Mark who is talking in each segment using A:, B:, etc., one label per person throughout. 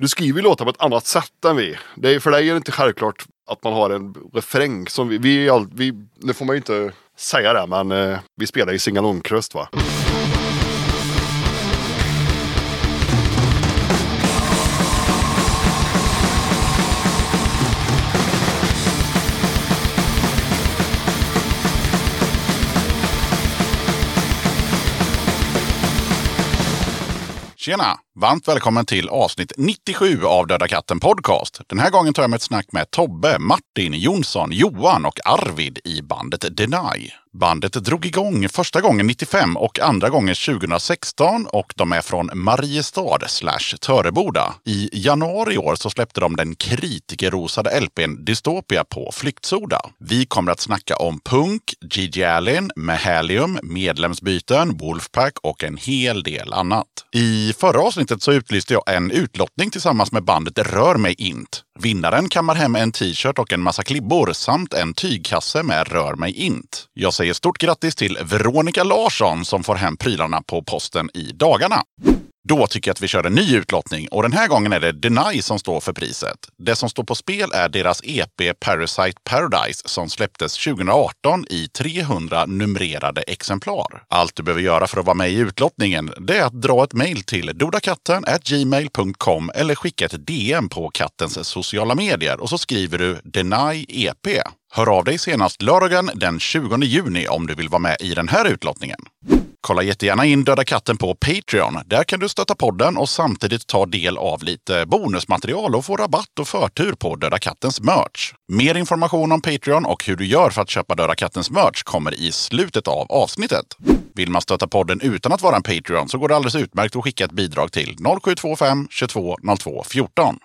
A: Du skriver ju låtar på ett annat sätt än vi. Det är, för dig är det inte självklart att man har en refräng. Som vi, vi, är all- vi, nu får man ju inte säga det, men eh, vi spelar ju singalongkröst va?
B: Tjena! Varmt välkommen till avsnitt 97 av Döda katten Podcast. Den här gången tar jag med ett snack med Tobbe, Martin, Jonsson, Johan och Arvid i bandet Deny. Bandet drog igång första gången 95 och andra gången 2016 och de är från Mariestad slash Töreboda. I januari i år så släppte de den kritikerrosade LPn Dystopia på Flyktsoda. Vi kommer att snacka om punk, Gigi Allen, Mahalium, medlemsbyten, Wolfpack och en hel del annat. I förra avsnittet så utlyste jag en utlottning tillsammans med bandet Rör mig int. Vinnaren kammar hem en t-shirt och en massa klibbor samt en tygkasse med Rör mig int. Jag säger stort grattis till Veronica Larsson som får hem prylarna på posten i dagarna. Då tycker jag att vi kör en ny utlottning och den här gången är det Deny som står för priset. Det som står på spel är deras EP Parasite Paradise som släpptes 2018 i 300 numrerade exemplar. Allt du behöver göra för att vara med i utlottningen det är att dra ett mejl till dodakatten gmail.com eller skicka ett DM på kattens sociala medier och så skriver du Deny EP. Hör av dig senast lördagen den 20 juni om du vill vara med i den här utlottningen. Kolla jättegärna in Döda katten på Patreon. Där kan du stötta podden och samtidigt ta del av lite bonusmaterial och få rabatt och förtur på Döda kattens merch. Mer information om Patreon och hur du gör för att köpa Döda kattens merch kommer i slutet av avsnittet. Vill man stötta podden utan att vara en Patreon så går det alldeles utmärkt att skicka ett bidrag till 0725 22 02 14.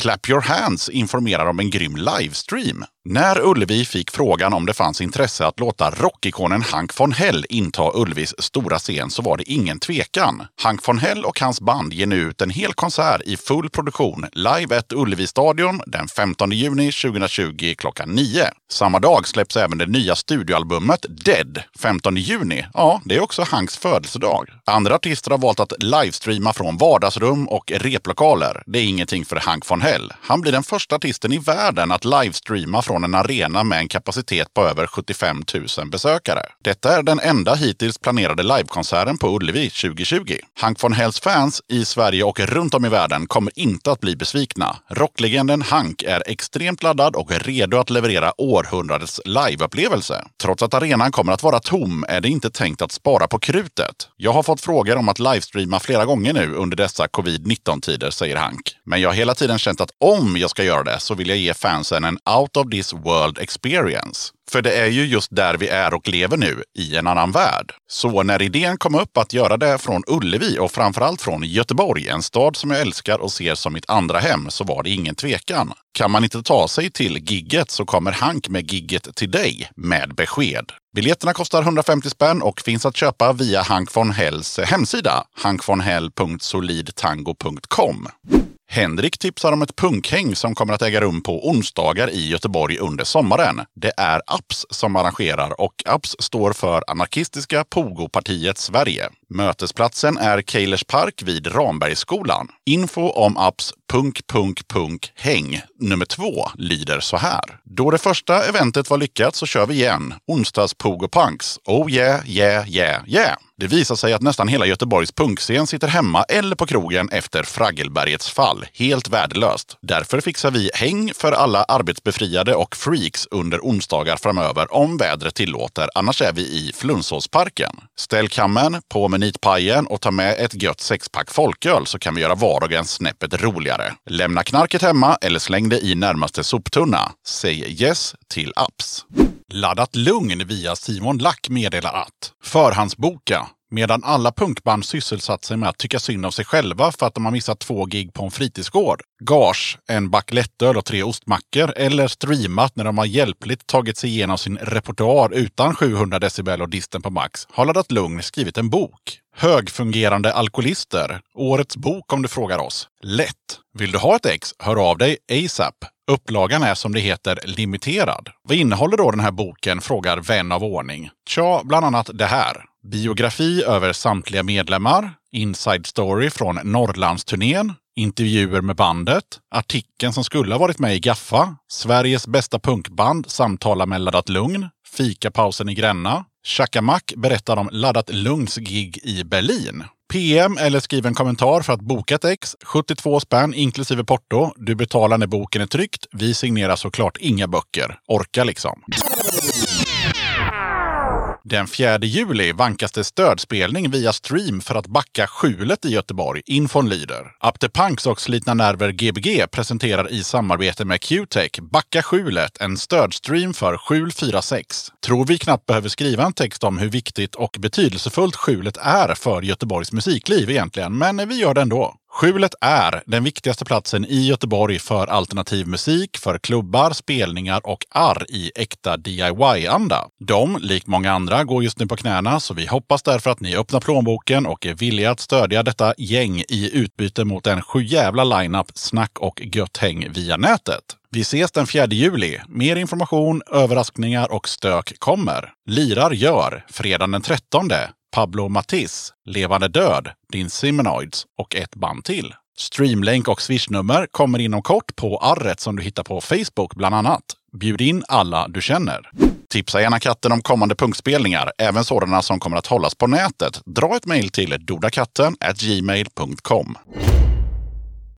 B: Clap Your Hands informerar om en grym livestream. När Ullevi fick frågan om det fanns intresse att låta rockikonen Hank von Hell inta Ullevis stora scen så var det ingen tvekan. Hank von Hell och hans band ger nu ut en hel konsert i full produktion live at Ullevi-stadion den 15 juni 2020 klockan 9. Samma dag släpps även det nya studioalbumet Dead 15 juni. Ja, det är också Hanks födelsedag. Andra artister har valt att livestreama från vardagsrum och replokaler. Det är ingenting för Hank von Hell. Han blir den första artisten i världen att livestreama från en arena med en kapacitet på över 75 000 besökare. Detta är den enda hittills planerade livekonserten på Ullevi 2020. Hank von Hells fans i Sverige och runt om i världen kommer inte att bli besvikna. Rocklegenden Hank är extremt laddad och redo att leverera århundradets liveupplevelse. Trots att arenan kommer att vara tom är det inte tänkt att spara på krutet. Jag har fått frågor om att livestreama flera gånger nu under dessa covid-19-tider, säger Hank. Men jag har hela tiden känt att om jag ska göra det så vill jag ge fansen en out of this world experience. För det är ju just där vi är och lever nu, i en annan värld. Så när idén kom upp att göra det från Ullevi och framförallt från Göteborg, en stad som jag älskar och ser som mitt andra hem, så var det ingen tvekan. Kan man inte ta sig till gigget så kommer Hank med gigget till dig med besked. Biljetterna kostar 150 spänn och finns att köpa via Hank von Hells hemsida, hankvonhell.solidtango.com. Henrik tipsar om ett punkhäng som kommer att äga rum på onsdagar i Göteborg under sommaren. Det är APS som arrangerar och APS står för Anarkistiska Pogopartiet Sverige. Mötesplatsen är Keilers park vid Rambergsskolan. Info om APS punk, punk, punk, häng nummer två lyder så här. Då det första eventet var lyckat så kör vi igen. Onsdags Pogo Punks. Oh yeah, yeah, yeah, yeah. Det visar sig att nästan hela Göteborgs punkscen sitter hemma eller på krogen efter Fraggelbergets fall. Helt värdelöst. Därför fixar vi häng för alla arbetsbefriade och freaks under onsdagar framöver om vädret tillåter. Annars är vi i Flunsåsparken. Ställ kammen på menitpajen och ta med ett gött sexpack folköl så kan vi göra vardagen snäppet roligare. Lämna knarket hemma eller släng det i närmaste soptunna. Säg yes till apps. Laddat lugn via Simon Lack meddelar att förhandsboka Medan alla punkband sysselsatt sig med att tycka synd om sig själva för att de har missat två gig på en fritidsgård, gage, en back lättöl och tre ostmackor eller streamat när de har hjälpligt tagit sig igenom sin repertoar utan 700 decibel och disten på max, har laddat lugn skrivit en bok. Högfungerande alkoholister. Årets bok om du frågar oss. Lätt. Vill du ha ett ex? Hör av dig ASAP. Upplagan är som det heter limiterad. Vad innehåller då den här boken? frågar vän av ordning. Tja, bland annat det här. Biografi över samtliga medlemmar, inside story från Norrlandsturnén, intervjuer med bandet, artikeln som skulle ha varit med i Gaffa, Sveriges bästa punkband samtalar med Laddat Lugn, fikapausen i Gränna, Chakamak berättar om Laddat Lugns gig i Berlin. PM eller skriv en kommentar för att boka ett ex. 72 spänn inklusive porto. Du betalar när boken är tryckt. Vi signerar såklart inga böcker. Orka liksom. Den 4 juli vankas det stödspelning via stream för att backa skjulet i Göteborg. Infon lyder. Up the Punks och Slitna Nerver Gbg presenterar i samarbete med Q-Tech Backa skjulet, en stödstream för skjul 46. Tror vi knappt behöver skriva en text om hur viktigt och betydelsefullt skjulet är för Göteborgs musikliv egentligen, men vi gör det ändå. Skjulet är den viktigaste platsen i Göteborg för alternativ musik, för klubbar, spelningar och arr i äkta DIY-anda. De, likt många andra, går just nu på knäna så vi hoppas därför att ni öppnar plånboken och är villiga att stödja detta gäng i utbyte mot en sjujävla lineup snack och gött häng via nätet. Vi ses den 4 juli. Mer information, överraskningar och stök kommer. Lirar gör, fredagen den 13. Pablo Matisse, Levande Död, Din Simenoids och ett band till. Streamlänk och swishnummer kommer inom kort på arret som du hittar på Facebook bland annat. Bjud in alla du känner. Tipsa gärna katten om kommande punktspelningar, även sådana som kommer att hållas på nätet. Dra ett mejl till dodakatten gmail.com.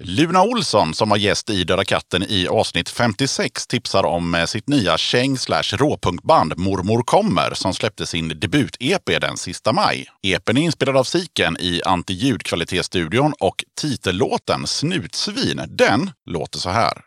B: Luna Olsson som var gäst i Döda katten i avsnitt 56 tipsar om eh, sitt nya käng slash råpunkband Mormor kommer som släppte sin debut-EP den sista maj. EPn är inspelad av Siken i antiljudkvalitetsstudion och titellåten Snutsvin, den låter så här.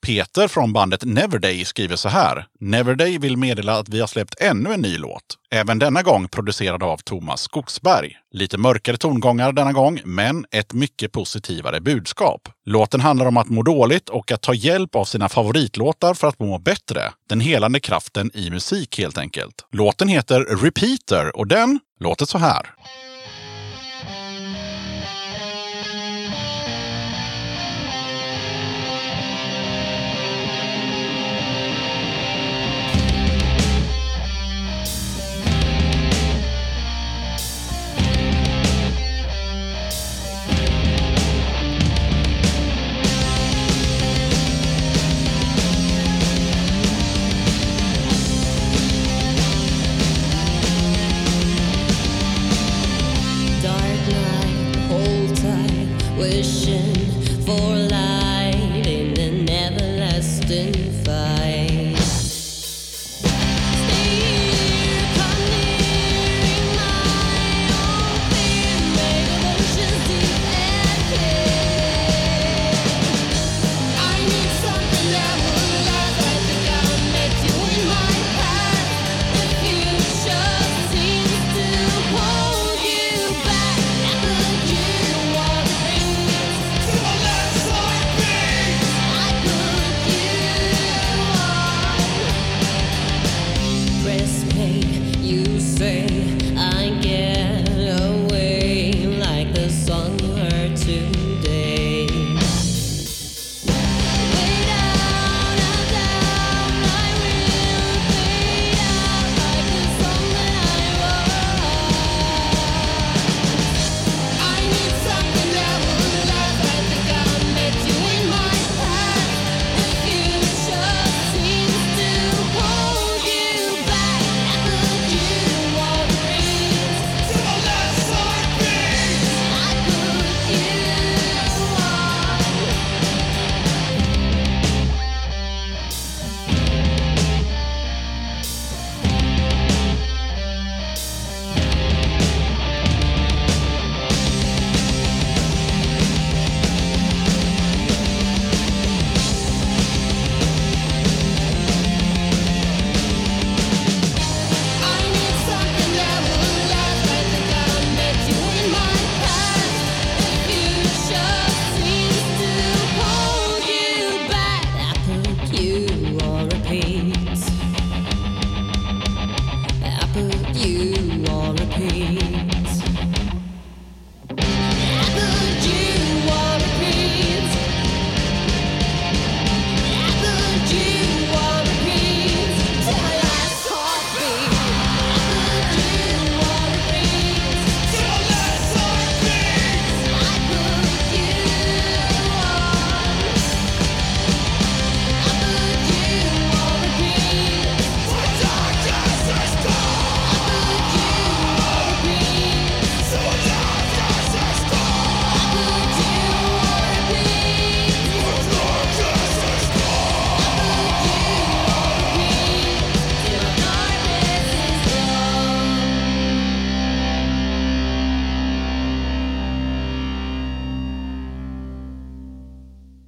B: Peter från bandet Neverday skriver så här. Neverday vill meddela att vi har släppt ännu en ny låt. Även denna gång producerad av Thomas Skogsberg. Lite mörkare tongångar denna gång, men ett mycket positivare budskap. Låten handlar om att må dåligt och att ta hjälp av sina favoritlåtar för att må bättre. Den helande kraften i musik helt enkelt. Låten heter Repeater och den låter så här.
C: Dark night, hold tight, wishing for light in an everlasting fight. Stay here, come near, in my open, made of oceans deep and clear. I need something that will last. I think I'll meet you in my path, the future.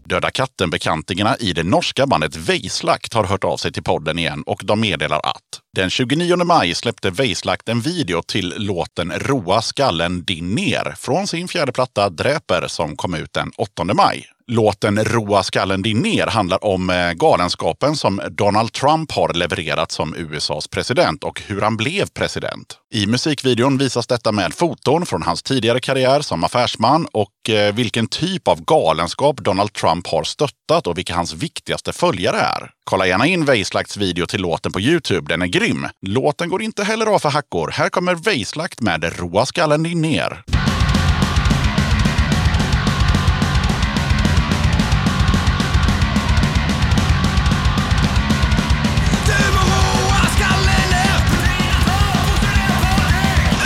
B: Döda katten-bekantingarna i det norska bandet Veislakt har hört av sig till podden igen och de meddelar att den 29 maj släppte Veislakt en video till låten Roa skallen din ner från sin fjärde platta Dräper som kom ut den 8 maj. Låten Roa skallen din ner handlar om eh, galenskapen som Donald Trump har levererat som USAs president och hur han blev president. I musikvideon visas detta med foton från hans tidigare karriär som affärsman och eh, vilken typ av galenskap Donald Trump har stöttat och vilka hans viktigaste följare är. Kolla gärna in Weislakts video till låten på Youtube, den är grym. Låten går inte heller av för hackor. Här kommer Weislakt med Roa skallen din ner.
D: Du må roa skallen ner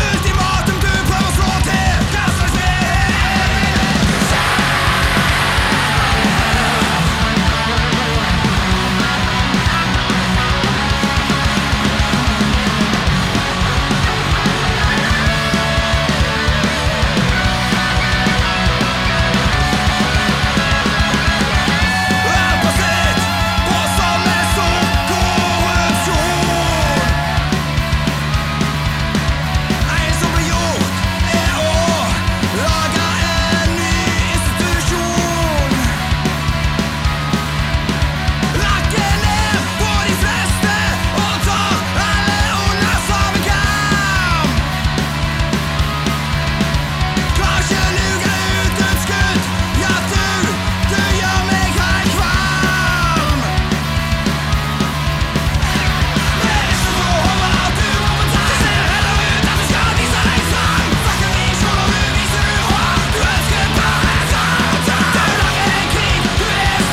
D: Ultimatum du prövar slå till Kastas ner Allt på sitt, på som en stor korruption En som blir gjord är att laga en ny institution Racken ner på de flesta och tar alla onda som en kamp Kanske lugar ut ett skutt Ja du, du gör mig kallkvarm Människor må hålla och du må betala Det ser heller ut att du ska visa dig sann Snackar i kjol och nu visar du hål Du önskar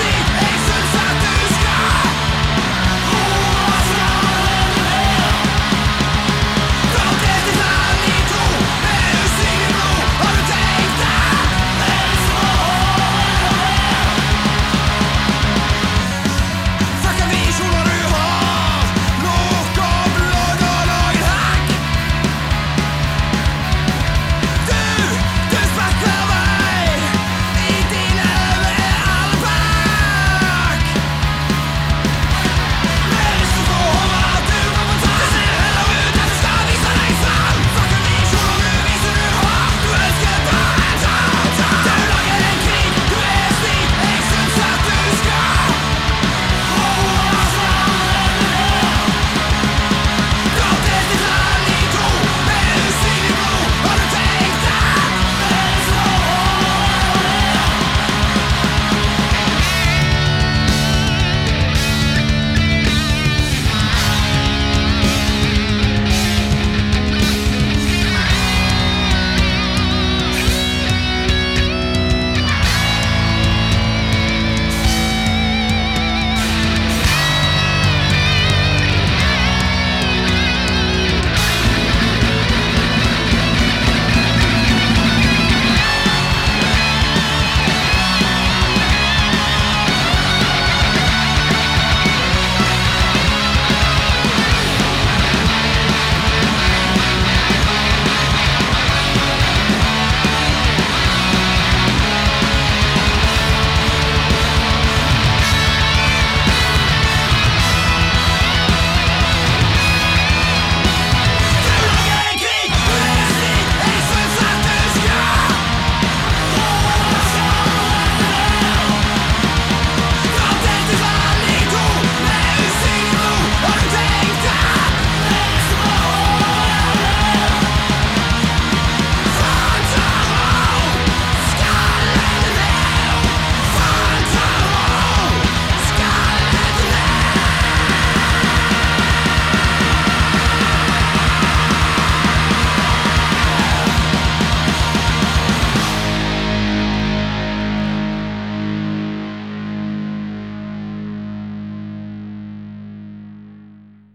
D: bara sånt Du lagar en krig, du är en stil En syns att du ska Roa skallen ner Från test till sann i tro Med usel i blod Har du tänkt dig? Människor må Snacka visor när du har nog av blod och lögnhack Du, du sparkar mig i din överarmpack Människor får hålla att du var på tand Det ser heller ut att du ska visa dig sann Snacka visor och nu visar du har Du önskar bara en chans Du lagar en krig, du är en stil En syns att du ska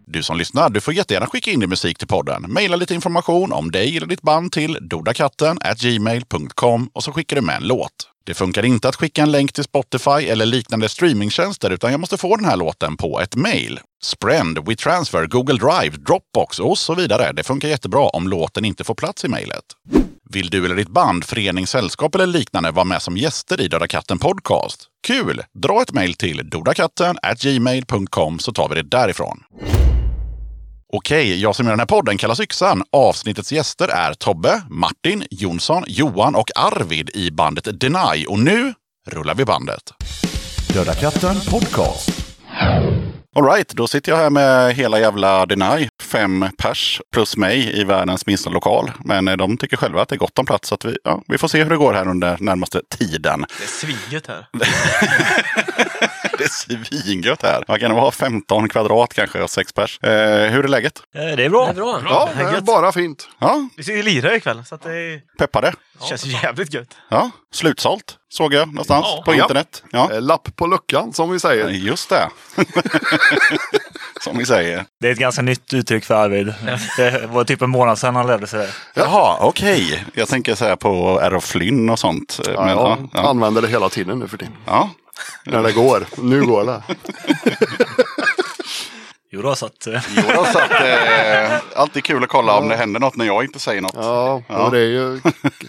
B: Du som lyssnar, du får jättegärna skicka in din musik till podden. Maila lite information om dig eller ditt band till dodakatten gmail.com och så skickar du med en låt. Det funkar inte att skicka en länk till Spotify eller liknande streamingtjänster utan jag måste få den här låten på ett mail. Sprend, WeTransfer, Google Drive, Dropbox och så vidare. Det funkar jättebra om låten inte får plats i mejlet. Vill du eller ditt band, förening, sällskap eller liknande vara med som gäster i Döda katten Podcast? Kul! Dra ett mejl till dodakatten gmail.com så tar vi det därifrån. Okej, jag som gör den här podden kallas Yxan. Avsnittets gäster är Tobbe, Martin, Jonsson, Johan och Arvid i bandet Deny. Och nu rullar vi bandet. Döda katten podcast. Alright, då sitter jag här med hela jävla Deny. Fem pers plus mig i världens minsta lokal. Men eh, de tycker själva att det är gott om plats. Så att vi, ja, vi får se hur det går här under närmaste tiden.
E: Det är svinget här.
B: Det är svingött här. Vad kan det vara? 15 kvadrat kanske och sex pers. Eh, hur är läget?
E: Eh, Det är bra.
F: Det är bra.
A: Ja,
E: det är
A: eh,
E: gött.
A: bara fint.
B: Ja,
E: Vi ska ju lira ikväll så att det
B: peppade.
E: känns ju jävligt gött.
B: Ja, slutsålt såg jag någonstans
E: Ja.
B: på
A: Ja.
B: internet. Ja.
A: Eh, Lapp på luckan som vi säger.
B: Just det. Som vi säger.
G: Det är ett ganska nytt uttryck för Arvid. Det var typ en månad sedan han lärde sig det.
B: Jaha, okej. Jag tänker så här på Errol Flynn och sånt. eh, Men,
A: Ja,
B: ja,
A: jag
B: ja,
A: använder det hela tiden nu för tiden.
B: ja.
A: När det går. Nu går det.
G: Jo då, så att, eh,
B: Jo, så att, eh, alltid kul att kolla om det händer något när jag inte säger något.
A: Ja, och det är ju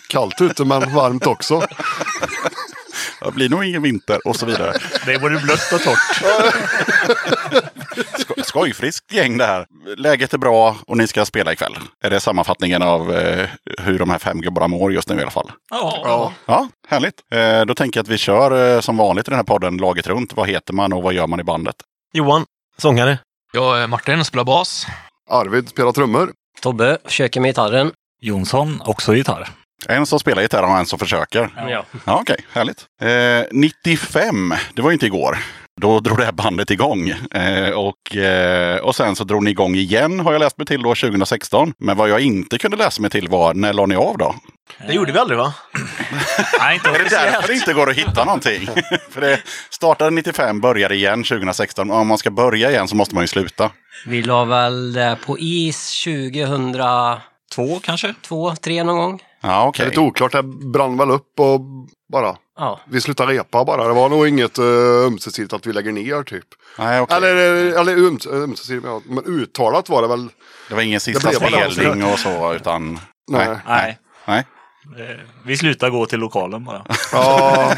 A: kallt ute men varmt också.
B: Det blir nog ingen vinter och så vidare.
G: det är både blött och torrt.
B: Sko- skojfriskt gäng det här. Läget är bra och ni ska spela ikväll. Är det sammanfattningen av eh, hur de här fem gubbarna mår just nu i alla fall?
A: Ja.
B: Ja, härligt. Eh, då tänker jag att vi kör eh, som vanligt i den här podden laget runt. Vad heter man och vad gör man i bandet?
E: Johan, sångare.
F: Jag är Martin, spelar bas.
A: Arvid spelar trummor.
F: Tobbe.
H: försöker med gitarren.
G: Jonsson, också gitarr.
B: En som spelar gitarr och en som försöker.
H: Ja.
B: Ja, okej. Härligt. Eh, 95, det var ju inte igår. Då drog det här bandet igång. Eh, och, eh, och sen så drog ni igång igen har jag läst mig till då 2016. Men vad jag inte kunde läsa mig till var när la ni av då?
E: Det gjorde vi aldrig va?
G: Nej, inte
B: Är det därför det inte går att hitta någonting? För det startade 95, började igen 2016. Om man ska börja igen så måste man ju sluta.
H: Vi la väl det på is 2002,
G: Två kanske?
H: tre någon gång.
B: Ja,
A: Det är
B: okej.
A: lite oklart, det brann väl upp och bara.
H: Ja.
A: Vi slutade repa bara. Det var nog inget uh, ömsesidigt att vi lägger ner typ.
B: Nej, okej.
A: Eller, eller öms- ömsesidigt, ja, men uttalat var det väl.
B: Det var ingen sista
A: Det blev bara-
B: spelning och så, utan...
A: Nej.
G: Nej.
B: Nej.
G: Eh, Vi slutar gå till lokalen bara.
A: Ja,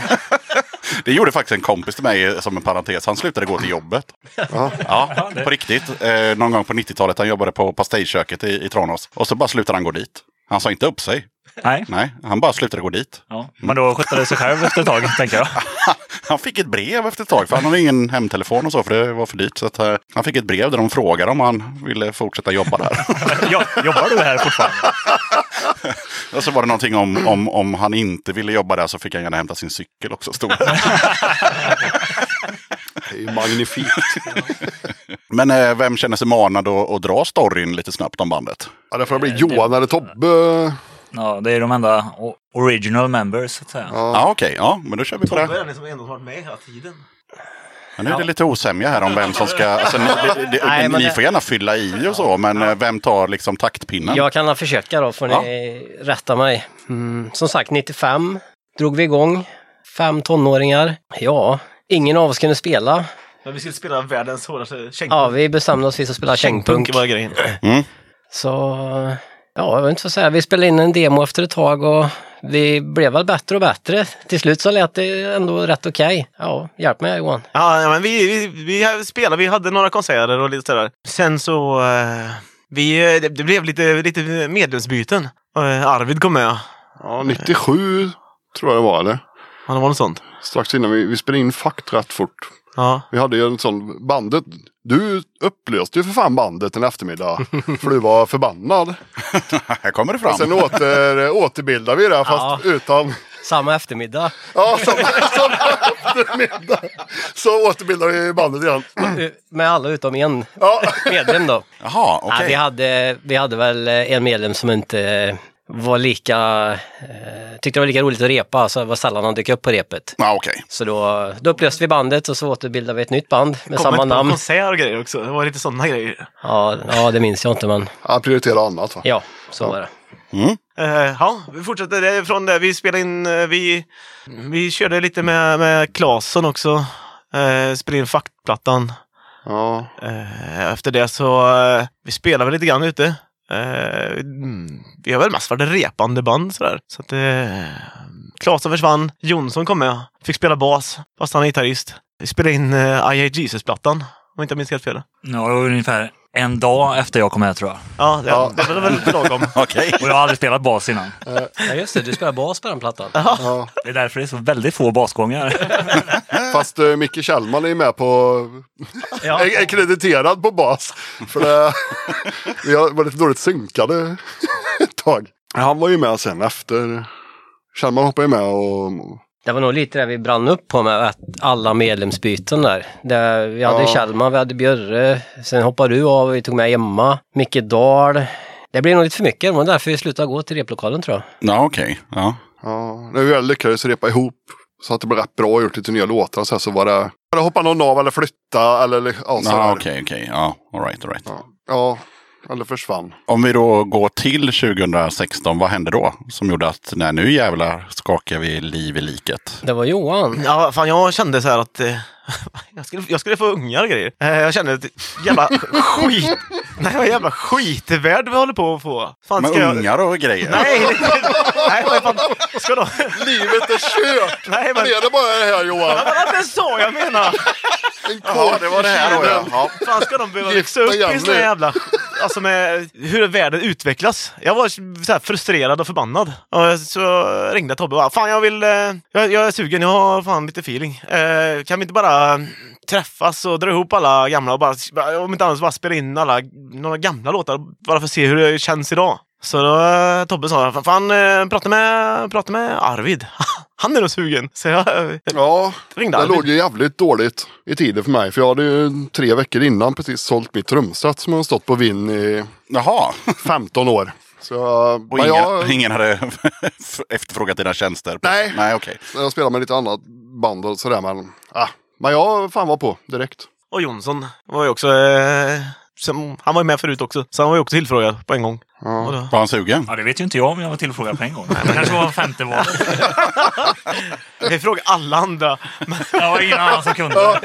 B: Det gjorde faktiskt en kompis till mig eh, som en parentes. Han slutade gå till jobbet.
A: Ja.
B: Ja, på riktigt. Eh, någon gång på 90-talet. Han jobbade på pastejköket i, i Tranås. Och så bara slutade han gå dit. Han sa inte upp sig.
G: Nej,
B: Nej, han bara slutade gå dit.
G: ja. men då skötte det sig själv efter ett tag, tänker jag.
B: Han fick ett brev efter ett tag. För han hade ingen hemtelefon och så. För det var för dyrt. Så att, eh, han fick ett brev där de frågade om han ville fortsätta jobba där.
G: Jo- Jobbar du här fortfarande?
B: och så var det någonting om, om, om han inte ville jobba där så fick han gärna hämta sin cykel också. Stod det.
A: det är ju magnifikt.
B: Men eh, vem känner sig manad att, att dra storyn lite snabbt om bandet?
A: Ja, det får bli Johan eller Tobbe.
G: Ja, det är de enda o- original members, så att säga.
B: Ja, okej. ja, men då kör vi på det.
E: Tobbe är den som ändå har varit med hela tiden.
B: Men nu är det lite osämja här om vem som ska... Alltså, ni, det, det,
H: Nej, men
B: ni
H: det-
B: får gärna fylla i och så, men eh, vem tar liksom taktpinnen?
H: Jag kan försöka då, får ni rätta mig. Mm. Som sagt, 95 drog vi igång. Fem tonåringar. Ja, ingen av oss kunde spela.
E: Men vi skulle spela världens hårdaste
H: Ja,
E: kängpunk.
H: vi bestämde oss för att spela kängpunk.
E: var grejen.
H: Så, ja, jag vet inte vad jag säga. Vi spelade in en demo efter ett tag och vi blev väl bättre och bättre. Till slut så lät det ändå rätt okej. Ja, hjälp mig Johan.
E: Ja, ja, men vi, vi, vi spelade, vi hade några konserter och lite sådär. Sen så... eh, vi, eh, det, det blev lite, lite medlemsbyten. Eh, Arvid kom med.
A: Ja, 97 tror jag det var eller?
E: Han var något sånt.
A: Strax innan vi, vi spelade in Fakt rätt fort.
E: Ja.
A: Vi hade ju en sån bandet. Du upplöste ju för fan bandet en eftermiddag. för du var förbannad.
B: Här kommer det fram.
A: Sen åter, återbildade vi det fast utan.
H: Samma eftermiddag.
A: Ja, som, som eftermiddag. Så återbildade vi bandet igen.
H: Eh, Med alla utom en
A: Ja.
H: medlem då.
B: Jaha, okej.
H: Ja, vi, hade, vi hade väl eh, en medlem som inte eh, var lika, eh, tyckte det var lika roligt att repa, så det var sällan han dök upp på repet.
B: Ja, okej.
H: Så då, då upplöste vi bandet och så återbildade vi ett nytt band med
E: Kom
H: samma
E: inte på
H: namn.
E: konsert och grejer också. Det var lite sådana grejer.
H: Ja, ja, det minns jag inte men
A: Han prioriterade annat va?
H: ja, så var det.
E: Eh, ja, vi fortsätter det från det. Vi spelade in, eh, vi, vi körde lite med, med Claesson också. Uh, spelade in faktplattan.
A: Ja.
E: Eh, efter det så, eh, vi spelade väl lite grann ute. Eh, mm, vi har väl mest varit repande band sådär. Så att, eh, Klasen försvann, Jonsson kom med, fick spela bas, fast han är gitarrist. Vi spelade in eh, I Hate Jesus-plattan, om jag inte minns helt fel.
G: Ja, det var ungefär en dag efter jag kom med tror jag.
E: Ja, det,
A: Ja.
E: det var väl lagom.
B: Okej.
G: Och jag har aldrig spelat bas innan.
H: Ja, just det. Du spelar bas på den plattan.
A: Ja.
G: Det är därför det är så väldigt få basgångar.
A: Fast eh, Micke Kjellman är med på...
G: Ja.
A: är, är krediterad på bas. För det... Vi har varit dåligt synkade ett tag. Han var ju med sen efter. Kjellman hoppade ju med och...
H: Det var nog lite det vi brann upp på med att alla medlemsbyten där. Det, vi hade
A: Ja.
H: Kjellman, vi hade Björre, sen hoppade du av, vi tog med Emma, Micke Dahl. Det blev nog lite för mycket, det var därför vi slutade gå till replokalen tror jag.
B: Ja, okej. Ja.
A: Ja, när vi väl lyckades repa ihop så att det blev rätt bra gjort lite nya låtar. och Så, här, så var det... Eller hoppa någon av eller flytta eller ja, så
B: Ja,
A: här.
B: okej, okej. Ja, all right, all right.
A: Ja. ja, eller försvann.
B: Om vi då går till 2016, vad hände då? Som gjorde att, nej nu jävlar skakar vi liv i liket.
H: Det var Johan.
E: Ja, fan jag kände så här att eh, jag, skulle, jag skulle få ungar och grejer. Eh, jag kände att jävla skit... Nej, vad jävla skitvärld vi håller på att få. Fan,
B: Med
E: ska jag...
B: ungar och grejer.
E: Nej, nej, men fan, ska då...
A: Livet är kört!
E: Nej, men...
A: Det är det bara det här Johan.
E: Ja, men Det är så jag menar!
A: En kåk det var det här då ja.
E: Fan, ska de behöva
A: Gifta
E: växa upp i
A: jävlar.
E: såna jävla... Alltså med hur världen utvecklas. Jag var så här frustrerad och förbannad. Och så ringde Tobbe och bara, fan jag vill... eh, Jag, jag är sugen, jag har fan lite feeling. Eh, kan vi inte bara träffas och dra ihop alla gamla och bara, om inte annat så bara spela in alla, några gamla låtar bara för att se hur det känns idag. Så då, eh, Tobbe sa, "Fan, fan eh, prata med, prata med Arvid. Han är nog sugen. Så jag eh,
A: Ja,
E: ringde
A: det
E: Arvid.
A: låg ju jävligt dåligt i tiden för mig. För jag hade ju tre veckor innan precis sålt mitt trumset som har stått på vinn i
B: Jaha,
A: 15 år. Så, jag-
B: och
A: men
B: ingen,
A: jag,
B: ingen hade efterfrågat dina tjänster?
A: Nej.
B: Nej, okej.
A: jag spelar med lite annat band och sådär. Men, ah, men jag fan var på direkt.
E: Och Jonsson var ju också... Eh, som, han var ju med förut också, så han var ju också tillfrågad på en gång. Och
A: Ja.
E: då,
B: Var han sugen?
G: Ja, det vet ju inte jag om jag var tillfrågad på en gång. Det kanske var femte val.
E: jag frågade alla andra.
G: Jag var ingen annan som kunde.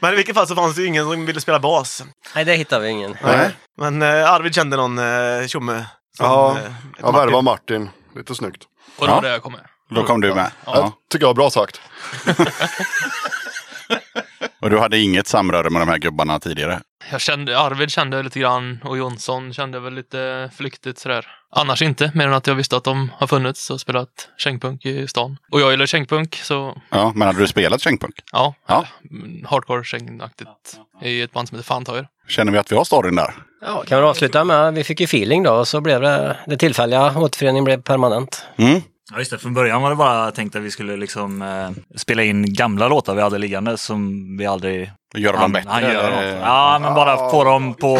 E: Men i vilket fall så fanns det ju ingen som ville spela bas.
H: Nej, det hittade vi ingen.
A: Nej.
E: Men eh, Arvid kände någon eh, tjomme. som,
A: Ja,
E: eh,
A: Jag värvade Martin. Lite snyggt.
F: Och då
B: Ja.
F: var det jag kom med.
B: Då kom du med.
A: Ja.
B: Ja.
A: Tycker jag var bra sagt.
B: Och du hade inget samröre med de här gubbarna tidigare?
F: Jag kände, Arvid kände lite grann och Jonsson kände väl lite flyktigt sådär. Annars inte, mer än att jag visste att de har funnits och spelat kängpunk i stan. Och jag gillar kängpunk, så
B: Ja, men hade du spelat kängpunk?
F: ja.
B: Ja.
F: Mm, Hardcore kängaktigt i ett band som heter Fantoyer.
B: Känner vi att vi har storyn där?
H: Ja, kan vi avsluta med, vi fick ju feeling då och så blev det, det tillfälliga återföreningen blev permanent.
B: Mm.
G: Ja, just det. Från början var det bara tänkt att vi skulle liksom, eh, spela in gamla låtar vi hade liggande som vi aldrig...
B: Gör de bättre?
G: han gör
B: eller?
G: något. Ja, men bara få dem på...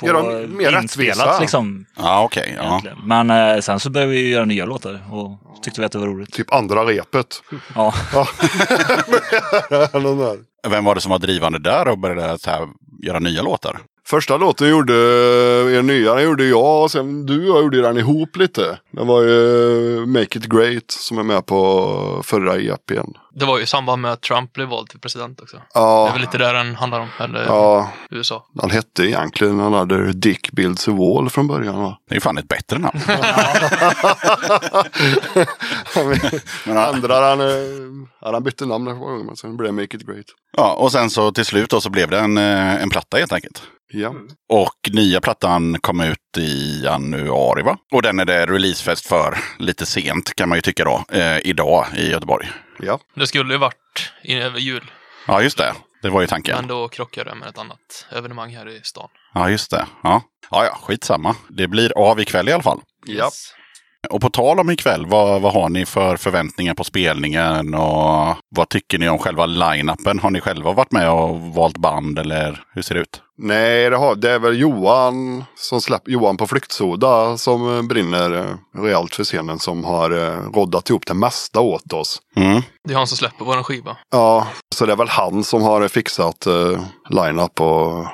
G: på
A: Gör dem mer rättvisa.
G: liksom.
B: Ja, okej. ja.
G: egentligen. Men eh, sen så började vi ju göra nya låtar och tyckte vi att det var roligt.
A: Typ andra repet.
G: Ja.
A: Ja. Någon där.
B: Vem var det som var drivande där och började så här, göra nya låtar?
A: Första låten gjorde, er nya, den gjorde jag och sen du och jag gjorde den ihop lite. Den var ju Make It Great som är med på förra E EPn.
F: Det var ju i samband med att Trump blev vald till president också. Det är
A: Ja,
F: väl lite där den handlar om, eller
A: ja,
F: USA.
A: han hette egentligen Another Dick Builds a Wall från början va?
B: Det är ju fan ett bättre namn. Men, ja.
A: Andra han, eh, ja, han bytte namn ett par gånger men sen blev det Make It Great.
B: ja, och sen så till slut då så blev det en, eh, en platta helt enkelt.
A: Ja,
B: Och nya plattan kom ut i januari va? Och den är det releasefest för lite sent kan man ju tycka då. Eh, idag i Göteborg.
A: ja.
F: Det skulle ju varit in över jul,
B: Ja just det. Det var ju
F: men
B: tanken.
F: då krockade det med ett annat evenemang här i stan.
B: Ja just det. Ja. Ja, ja, skitsamma. Det blir av ikväll i alla fall.
A: ja.
B: Och på tal om ikväll, vad, vad har ni för förväntningar på spelningen och vad tycker ni om själva line-upen? Har ni själva varit med och valt band eller hur ser det ut?
A: Nej, det, har, det är väl Johan, som släpp, Johan på flyktsoda som eh, brinner eh, rejält för scenen som har eh, roddat ihop det mesta åt oss.
B: Mm.
F: Det är han som släpper vår skiva.
A: Ja, så det är väl han som har fixat eh, line-up och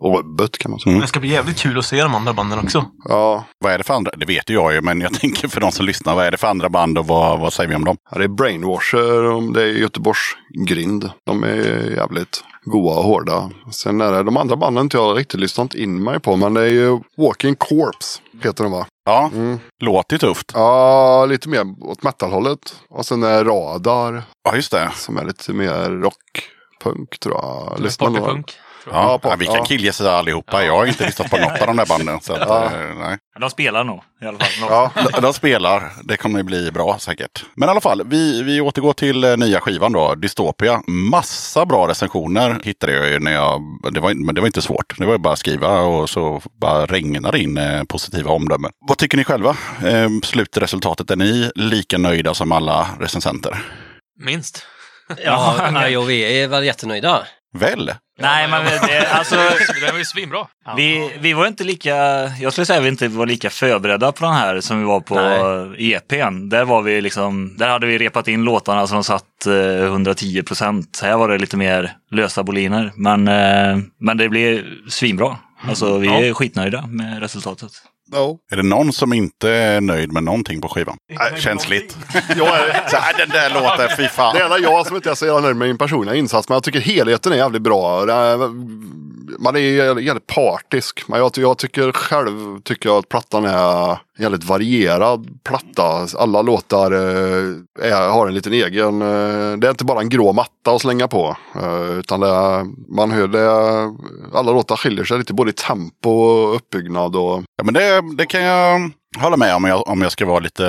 A: Och bött kan man säga.
E: Det ska bli jävligt kul att se de andra banden också.
A: Ja,
B: Vad är det för andra? Det vet ju jag ju, men jag tänker för de som lyssnar. Vad är det för andra band och vad, vad säger vi om dem?
A: Ja, det är Brainwasher, och det är Göteborgs grind. De är jävligt goa och hårda. Sen är det de andra banden inte jag riktigt lyssnat in mig på, men det är ju Walking Corpse heter de va?
B: Ja,
A: Mm.
B: låter ju tufft.
A: Ja, lite mer åt metalhållet. Och sen är Radar
B: Ja, just det.
A: som är lite mer rockpunk tror jag. Lyssnar nog-
F: Partypunk.
B: Ja,
A: Ja, på-
B: ja, vi kan
A: ja.
B: killgissa allihopa. Jag har inte lyssnat på något av de där banden. Så att,
A: Ja.
B: eh, nej.
G: De spelar nog i alla fall.
A: Ja,
B: De- De spelar. Det kommer bli bra säkert. Men i alla fall, vi, vi återgår till eh, nya skivan då, Dystopia. Massa bra recensioner hittade jag ju när jag... Det var, men det var inte svårt. Det var ju bara att skriva och så bara regnade in eh, positiva omdömen. Vad tycker ni själva? Eh, slutresultatet, är ni lika nöjda som alla recensenter?
F: Minst.
H: Ja, nej, och vi är väl jättenöjda.
B: Väl?
G: Nej, men det, alltså,
F: Den var ju svinbra.
G: vi, vi var inte lika, jag skulle säga att vi inte var lika förberedda på den här som vi var på EPn. Där, var vi liksom, där hade vi repat in låtarna som satt eh, 110 procent. Här var det lite mer lösa boliner. Men, eh, men det blev svinbra. Alltså vi är skitnöjda med resultatet.
A: no.
B: Är det någon som inte är nöjd med någonting på skivan? Äh, känsligt. Jag är, så här, den där låten, fy fan.
A: Det enda jag som inte är så jävla nöjd med min personliga insats, men jag tycker helheten är jävligt bra. Det är- Man är jävligt jävligt partisk, men jag, ty- jag tycker själv tycker jag att plattan är en jävligt varierad platta. Alla låtar eh, är, har en liten egen, eh, det är inte bara en grå matta att slänga på. eh, Utan det är, man hör det, alla låtar skiljer sig lite både i tempo och uppbyggnad. Och,
B: Ja, men det, det kan jag hålla med om jag, om jag ska vara lite,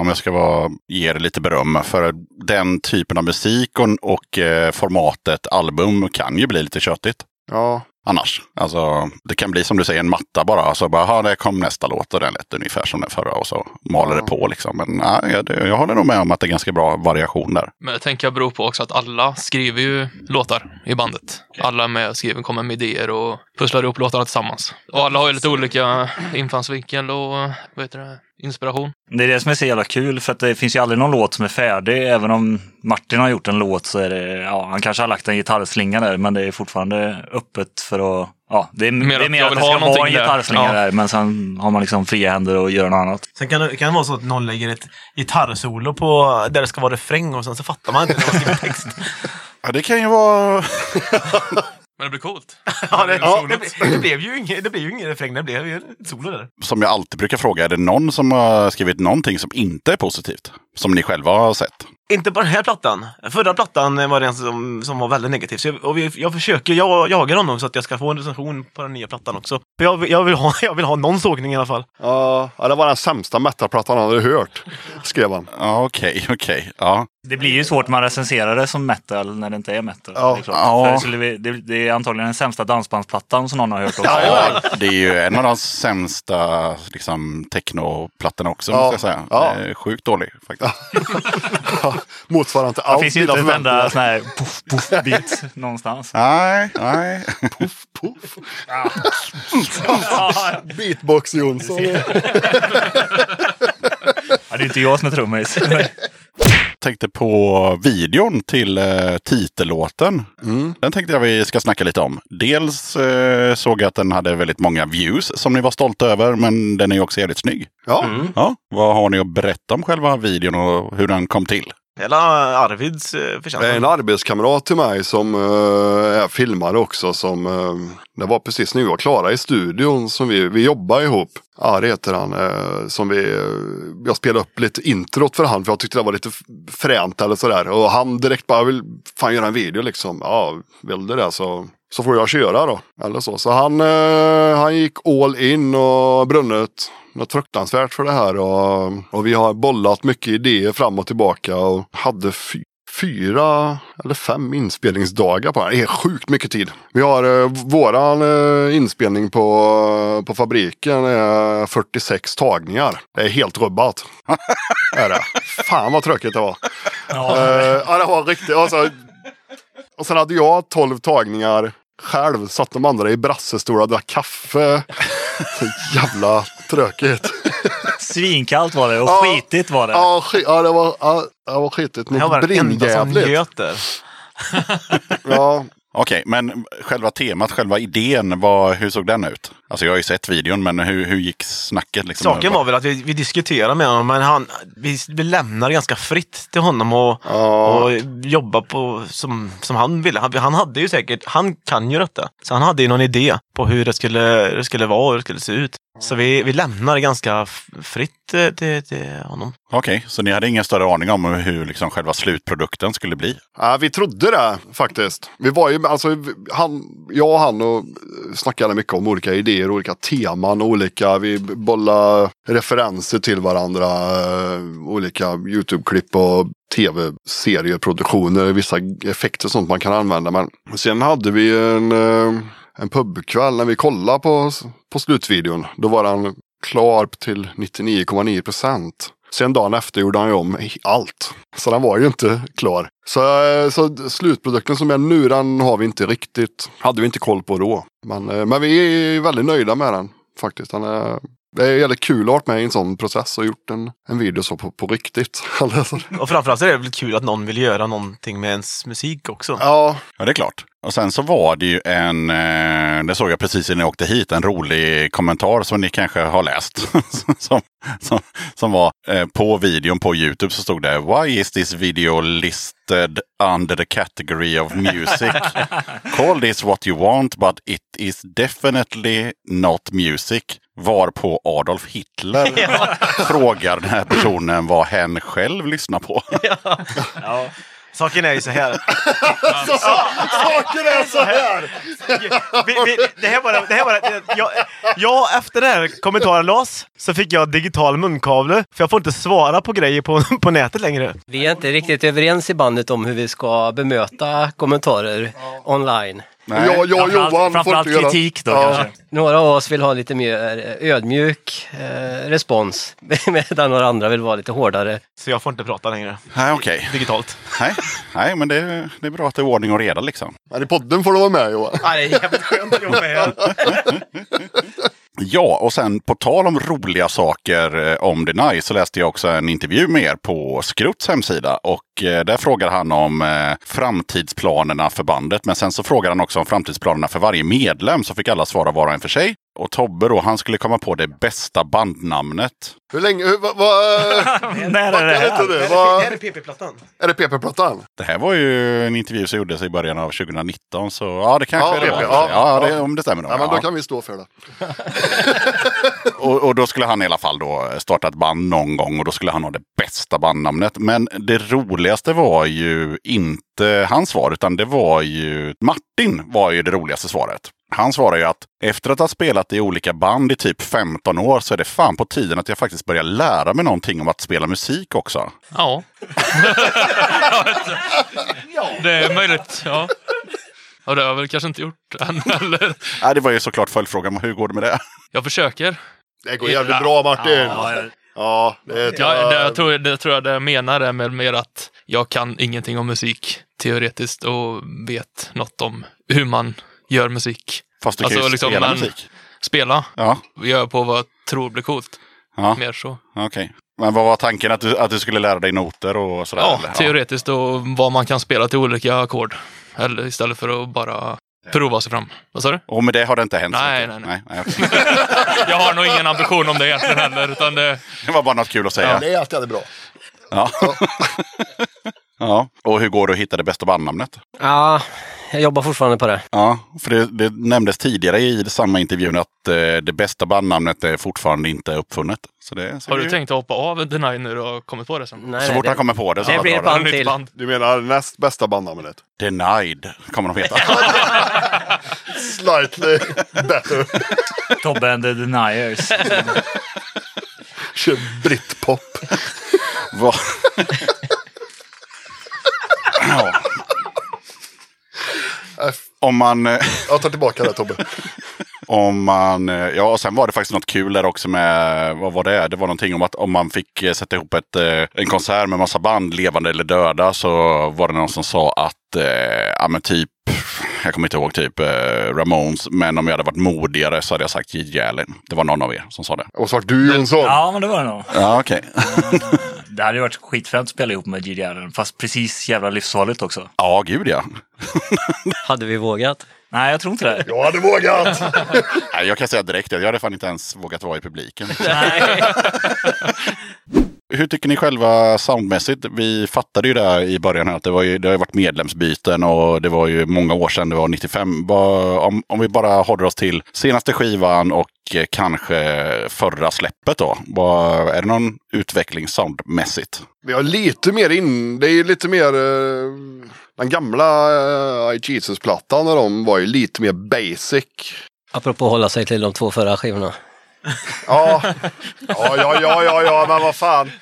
B: om jag ska vara, ge det lite beröm. För den typen av musik och, och eh, formatet album kan ju bli lite köttigt.
A: ja,
B: Annars, alltså det kan bli som du säger en matta bara. Alltså bara, "Aha, där kom nästa låt och den lät ungefär som den förra och så maler det på liksom. Men nej, jag, det- jag håller nog med om att det är ganska bra variation där.
F: Men jag tänker jag beror på också att alla skriver ju låtar i bandet. Alla är med och skriver, kommer med idéer och pusslar ihop låtarna tillsammans. Och alla har ju lite olika infallsvinkel och vad heter det, inspiration.
G: Det är det som är så jävla kul för att det finns ju aldrig någon låt som är färdig. Även om Martin har gjort en låt så är det, ja, han kanske har lagt en gitarrslinga där men det är fortfarande öppet för att, ja, det är
F: Mer
G: mer, det är
F: att
G: mer
F: jag
G: att
F: vill
G: det
F: ha
G: ska vara en
F: någonting där.
G: gitarrslinga
F: Ja.
G: där men sen har man liksom fria händer och gör något annat.
E: Sen kan det, kan det vara så att någon lägger ett gitarrsolo på där det ska vara refräng och sen så fattar man inte när man skriver text.
B: Ja, det kan ju vara...
F: Men det blir coolt.
E: ja, det,
F: Ja,
E: det, ble- det blev ju ingen, det blev ju ingen refräng, det blev ju ett solo där.
B: som jag alltid brukar fråga, är det någon som har skrivit någonting som inte är positivt? Som ni själva har sett?
E: Inte på den här plattan. Förra plattan var det en som, som var väldigt negativ. Så jag, och vi, jag försöker jag, jaga honom så att jag ska få en recension på den nya plattan också. För jag, vill- jag, vill, ha, jag vill ha någon sågning i alla fall.
A: ja, det var den sämsta metalplattan han hade hört, skrev han.
B: Ja, okej, okej. Ja.
G: Det blir ju svårt man recenserar det som metal när det inte är metal.
A: Ja.
G: det, är klart.
B: Ja.
G: För det, skulle vi, det, det är antagligen den sämsta dansbandsplattan som någon har hört också.
B: ja, det är ju en av de sämsta liksom, technoplattorna också,
A: Ja,
B: måste jag säga.
A: ja.
B: Det är Sjukt dålig faktiskt.
A: Motsvarande till
G: Det
A: allt.
G: finns ju
A: mina
G: inte en
A: förväntningar.
G: enda sån här puff puff bit någonstans.
B: Nej, nej.
A: Puff.
G: Ja,
A: Beatbox Jonsson.
G: det är inte jag som är trummis.
B: tänkte på videon till eh, titellåten. Den tänkte jag vi ska snacka lite om. Dels eh, såg jag att den hade väldigt många views som ni var stolta över, men den är ju också jävligt snygg.
A: Ja.
B: Ja, vad har ni att berätta om själva videon och hur den kom till?
E: Hela Arvids eh,
A: Det är en
E: förtjänst.
A: arbetskamrat till mig som eh, är filmare också. Som, eh, det var precis när vi var klara i studion som vi, vi jobbar ihop. Ari heter han. eh, som vi, eh, jag spelade upp lite introt för han för jag tyckte det var lite f- fränt eller sådär. Och han direkt bara, "Jag vill fan göra en video liksom. Ja, vill du det så, så får jag köra då. Eller så. Så han, eh, han gick all in och brunnet något fruktansvärt för det här. Och, och vi har bollat mycket idéer fram och tillbaka. Och hade fy, fyra eller fem inspelningsdagar på det här. Det är sjukt mycket tid. Vi har eh, våran eh, inspelning på, på fabriken är 46 tagningar. Det är helt rubbat. är det. Fan vad tråkigt det var. Ja, ja det var riktigt. Alltså, och sen hade jag 12 tagningar själv. Satt de andra i brassestolar och drack kaffe. Så jävla tråkigt.
G: Svinkallt var det och
A: Ja.
G: skitigt var det.
A: Ja, sk- ja, det var, ja, det var skitigt.
E: Jag
A: Något
E: var den enda som
A: brinnjävligt.
E: njöt där.
A: Ja,
B: Okej, men själva temat, själva idén, vad, hur såg den ut? Alltså jag har ju sett videon, men hur, hur gick snacket? Liksom?
E: Saken var väl att vi, vi diskuterade med honom, men han, vi, vi lämnar ganska fritt till honom och,
A: Ja.
E: och jobba på som, som han ville. Han, han hade ju säkert, han kan ju detta. Så han hade ju någon idé på hur det skulle, hur det skulle vara och hur det skulle se ut. Så vi, vi lämnar ganska f- fritt eh, till, till honom.
B: Okej, så ni hade ingen större aning om hur liksom, själva slutprodukten skulle bli?
A: Ja, vi trodde det faktiskt. Vi var ju, alltså, vi- han, jag och han och eh, snackade mycket om olika idéer, olika teman, olika, vi bollade referenser till varandra, eh, olika YouTube-klipp och tv-serier, produktioner, vissa effekter och sånt man kan använda. Men sen hade vi en, eh, en pubkväll när vi kollade på, på slutvideon. Då var han klar till 99,9 procent. Sen dagen efter gjorde han ju om allt. Så den var ju inte klar. Så, eh, så slutprodukten som är nu, den har vi inte riktigt, hade vi inte koll på då. Men, eh, men vi är väldigt nöjda med den faktiskt. Den är, det är jävligt kul att ha varit med i en sån process och gjort en, en video så på, på riktigt. Alltså,
E: Och framförallt så är det väl kul att någon vill göra någonting med ens musik också.
A: ja,
B: Ja, det är klart. Och sen så var det ju en, eh, det såg jag precis innan jag åkte hit, en rolig kommentar som ni kanske har läst. som, som, som var eh, på videon på YouTube så stod det Why is this video listed under the category of music? Call this what you want but it is definitely not music. Var på Adolf Hitler frågar den här personen vad hen själv lyssnar på.
G: Ja.
E: Saken är ju så här.
A: saker är så här!
E: Vi, vi, det här var det, det här var det, jag, jag, efter den här kommentaren lades så fick jag digital munkavle. För jag får inte svara på grejer på, på nätet längre.
H: Vi är inte riktigt överens i bandet om hur vi ska bemöta kommentarer online.
B: Nej.
A: Jag, jag och
G: Framförallt-
A: Johan får
G: framförallt
A: inte göra...
G: kritik då
A: Ja.
G: kanske.
H: Några av oss vill ha lite mer ödmjuk eh, respons medan några andra vill vara lite hårdare.
E: Så jag får inte prata längre.
B: Nej, okej.
E: Digitalt.
B: Nej, nej men det, det är bra att det är ordning och reda liksom.
A: Men i podden får du vara med Johan.
E: Ja, det är jävligt skönt att jobba här.
B: Ja, och sen på tal om roliga saker eh, om Deny så läste jag också en intervju med er på Skruts hemsida. Och eh, där frågar han om eh, framtidsplanerna för bandet. Men sen så frågar han också om framtidsplanerna för varje medlem. Så fick alla svara var och en för sig. Och Tobbe då, han skulle komma på det bästa bandnamnet.
A: Hur länge, hur, vad, vad,
G: När är det
A: Kan
G: här?
A: inte du? Vad,
E: PP-plattan.
A: är det PP-plattan?
B: Det här var ju en intervju som gjordes i början av 2019. Så ja, det kanske
A: Ja,
B: det var.
A: PP,
B: Ja,
A: ja,
B: ja, det,
A: ja.
B: om det stämmer.
A: Ja, men då
B: ja.
A: kan vi stå för det.
B: Och, och då skulle han i alla fall då starta ett band någon gång och då skulle han ha det bästa bandnamnet. Men det roligaste var ju inte hans svar utan det var ju Martin var ju det roligaste svaret. Han svarar ju att efter att ha spelat i olika band i typ 15 år så är det fan på tiden att jag faktiskt börjar lära mig någonting om att spela musik också.
F: Ja. det är möjligt. Ja. Och det har jag väl kanske inte gjort än eller?
B: Äh, det var ju såklart följdfrågan, hur går det med det?
F: Jag försöker.
A: Det går jävligt bra Martin.
G: Ja, ja.
A: Ja, det är ett
F: Jag, det,
A: jävla-
F: jag tror, det tror jag det jag menar är med mer att jag kan ingenting om musik teoretiskt och vet något om hur man gör musik.
B: Fast du kan
F: Alltså,
B: ju
F: liksom,
B: spela
F: men-
B: musik.
F: Spela,
B: Ja,
F: gör på vad jag tror blir coolt.
B: ja
F: Mer så.
B: okej. Men vad var tanken? Att du, att du skulle lära dig noter och sådär?
F: Ja,
B: eller?
F: teoretiskt och vad man kan spela till olika ackord. Eller istället för att bara prova sig fram. Vad sa du?
B: Och med det har det inte hänt? så
F: Nej,
B: mycket?
F: nej, nej.
B: nej, okej.
F: Jag har nog ingen ambition om det egentligen heller. Utan det,
B: Det var bara något kul att säga.
A: Det är alltid jävligt bra.
B: Ja. ja. Och hur går det att hitta det bästa bandnamnet?
H: Ja, jag jobbar fortfarande på det.
B: Ja, för det, det nämndes tidigare i samma intervjun att eh, det bästa bandnamnet är fortfarande inte uppfunnet. Så det, så
F: har
B: det-
E: Mm.
F: du tänkt att hoppa av Deny nu och kommit på det sen?
H: Nej,
B: Så fort
H: det,
B: han kommer på det så
H: det
B: bara
H: blir
B: drar
H: ett
B: han.
H: band till.
F: band.
A: Du menar näst bästa bandnamnet?
B: Denied kommer de heta.
A: Slightly better.
G: Tobbe and the Deniers.
A: Kör brittpop.
B: Vad- ja. Om man... eh,
A: Jag tar tillbaka det Tobbe.
B: Om man, eh, ja och sen var det faktiskt något kul där också med, vad var det? Det var någonting om att om man fick eh, sätta ihop ett, eh, en konsert med massa band, levande eller döda, så var det någon som sa att, eh, ja men typ, jag kommer inte ihåg typ eh, Ramones, men om jag hade varit modigare så hade jag sagt Gigi Allen. Det var någon av er som sa det.
A: Och så vart du Jonsson.
G: Ja, men det var det nog.
B: Ja okej.
G: Det hade ju varit skitfränt att spela ihop med GDR, fast precis jävla livsfarligt också.
B: Ja, gud ja.
H: Hade vi vågat?
G: Nej, jag tror inte det.
A: Jag hade vågat!
B: Nej, jag kan säga direkt att jag hade fan inte ens vågat vara i publiken.
H: Nej.
B: Hur tycker ni själva soundmässigt? Vi fattade ju där i början här att det, var ju, det har ju varit medlemsbyten och det var ju många år sedan, det var 95. Vad- Om, om vi bara håller oss till senaste skivan och eh, kanske förra släppet då. Vad- Är det någon utveckling soundmässigt?
A: Vi har lite mer in, det är ju lite mer eh, den gamla eh, I Jesus-plattan när de var ju lite mer basic.
H: Apropå hålla sig till de två förra skivorna.
A: Ja, ja, ja, ja, ja, ja men vad fan.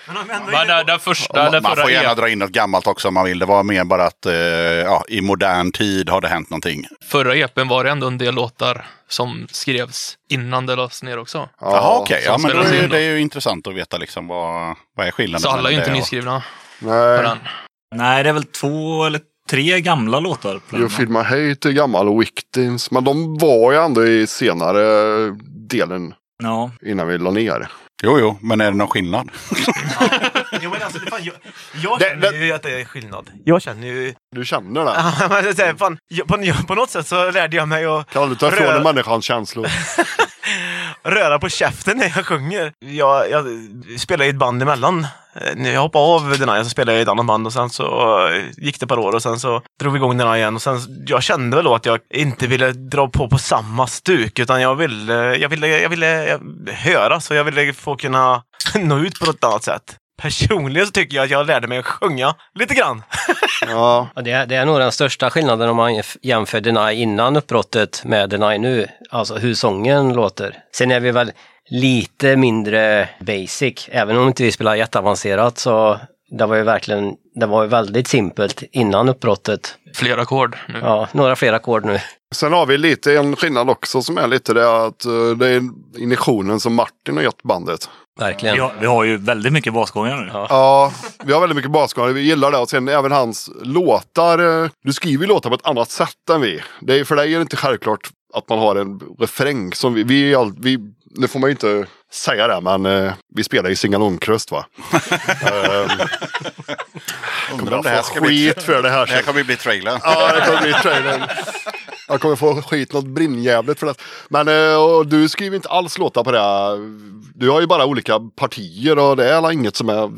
F: Men den, den första,
B: man
F: den
B: man
F: förra E.
B: får gärna
F: EP
B: dra in något gammalt också om man vill. Det var mer bara att eh, ja, i modern tid har det hänt någonting.
F: förra EPn var det ändå en del låtar som skrevs innan det lades ner också.
A: Ja,
B: Jaha, okej. Ja,
F: som
B: men då
F: spelades
B: är, ju-
F: in då.
B: det är ju intressant att veta liksom vad, vad är skillnaden.
F: Så alla är
B: mellan
F: ju inte
B: det och-
F: nyskrivna på
A: Nej,
F: den.
G: Nej, det är väl två eller tre gamla låtar. på
A: You
G: den.
A: Feel My Hate är gammal och Victims. Men de var ju ändå i senare delen
G: Ja.
A: innan vi la ner.
B: Jo, jo, men är det någon skillnad?
E: Jo, men alltså, det fan, jag, jag
A: Det-
E: känner ju att det är skillnad. Jag känner ju...
A: Du känner det?
E: Ja, men det är så här, fan, jag- på, på något sätt så lärde jag mig att
A: Kan aldrig ta ifrån
E: Röd.
A: en människan känslor.
E: röra på käften när jag sjunger. Jag, jag spelar i ett band emellan. Eh, När jag hoppade av den här så spelade jag i ett annat band och sen så eh, gick det ett par år och sen så drog vi igång den här igen. Och sen, jag kände väl då att jag inte ville dra på på samma stuk utan jag ville, jag ville, jag ville jag, höras och jag ville få kunna nå ut på något annat sätt. Personligen så tycker jag att jag lärde mig att sjunga lite grann.
A: Ja,
H: Ja, Det är, det är nog den största skillnaden om man jämf- jämför Deny innan uppbrottet med Deny nu. Alltså hur sången låter. Sen är vi väl lite mindre basic. Även om inte vi spelar jätteavancerat så det var ju verkligen, det var ju väldigt simpelt innan uppbrottet.
F: Flera ackord nu.
H: Ja, några fler ackord nu.
A: Sen har vi lite en skillnad också som är lite det att eh, det är injektionen som Martin har gett bandet.
H: Verkligen.
G: Vi, har, vi har ju väldigt mycket basgångar nu.
H: Ja.
A: Ja, vi har väldigt mycket basgångare. Vi gillar det. Och sen även hans låtar. eh, Du skriver ju låtar på ett annat sätt än vi. Det är, för dig är det inte självklart att man har en refräng. Som vi, vi, är all- vi, nu får man ju inte säga det, men eh, vi spelar ju singalongkröst va? Ehm,
B: Undrar
A: kommer
B: om det här
A: jag
B: ska
A: få
B: bli...
A: skit för det här
B: Det här
A: sen.
B: kommer ju bli trailern.
A: Ja, det kommer bli trailern. Jag kommer få skit något brinnjävligt för det. Men eh, och du skriver inte alls låtar på det. här. Du har ju bara olika partier och det är alla inget som är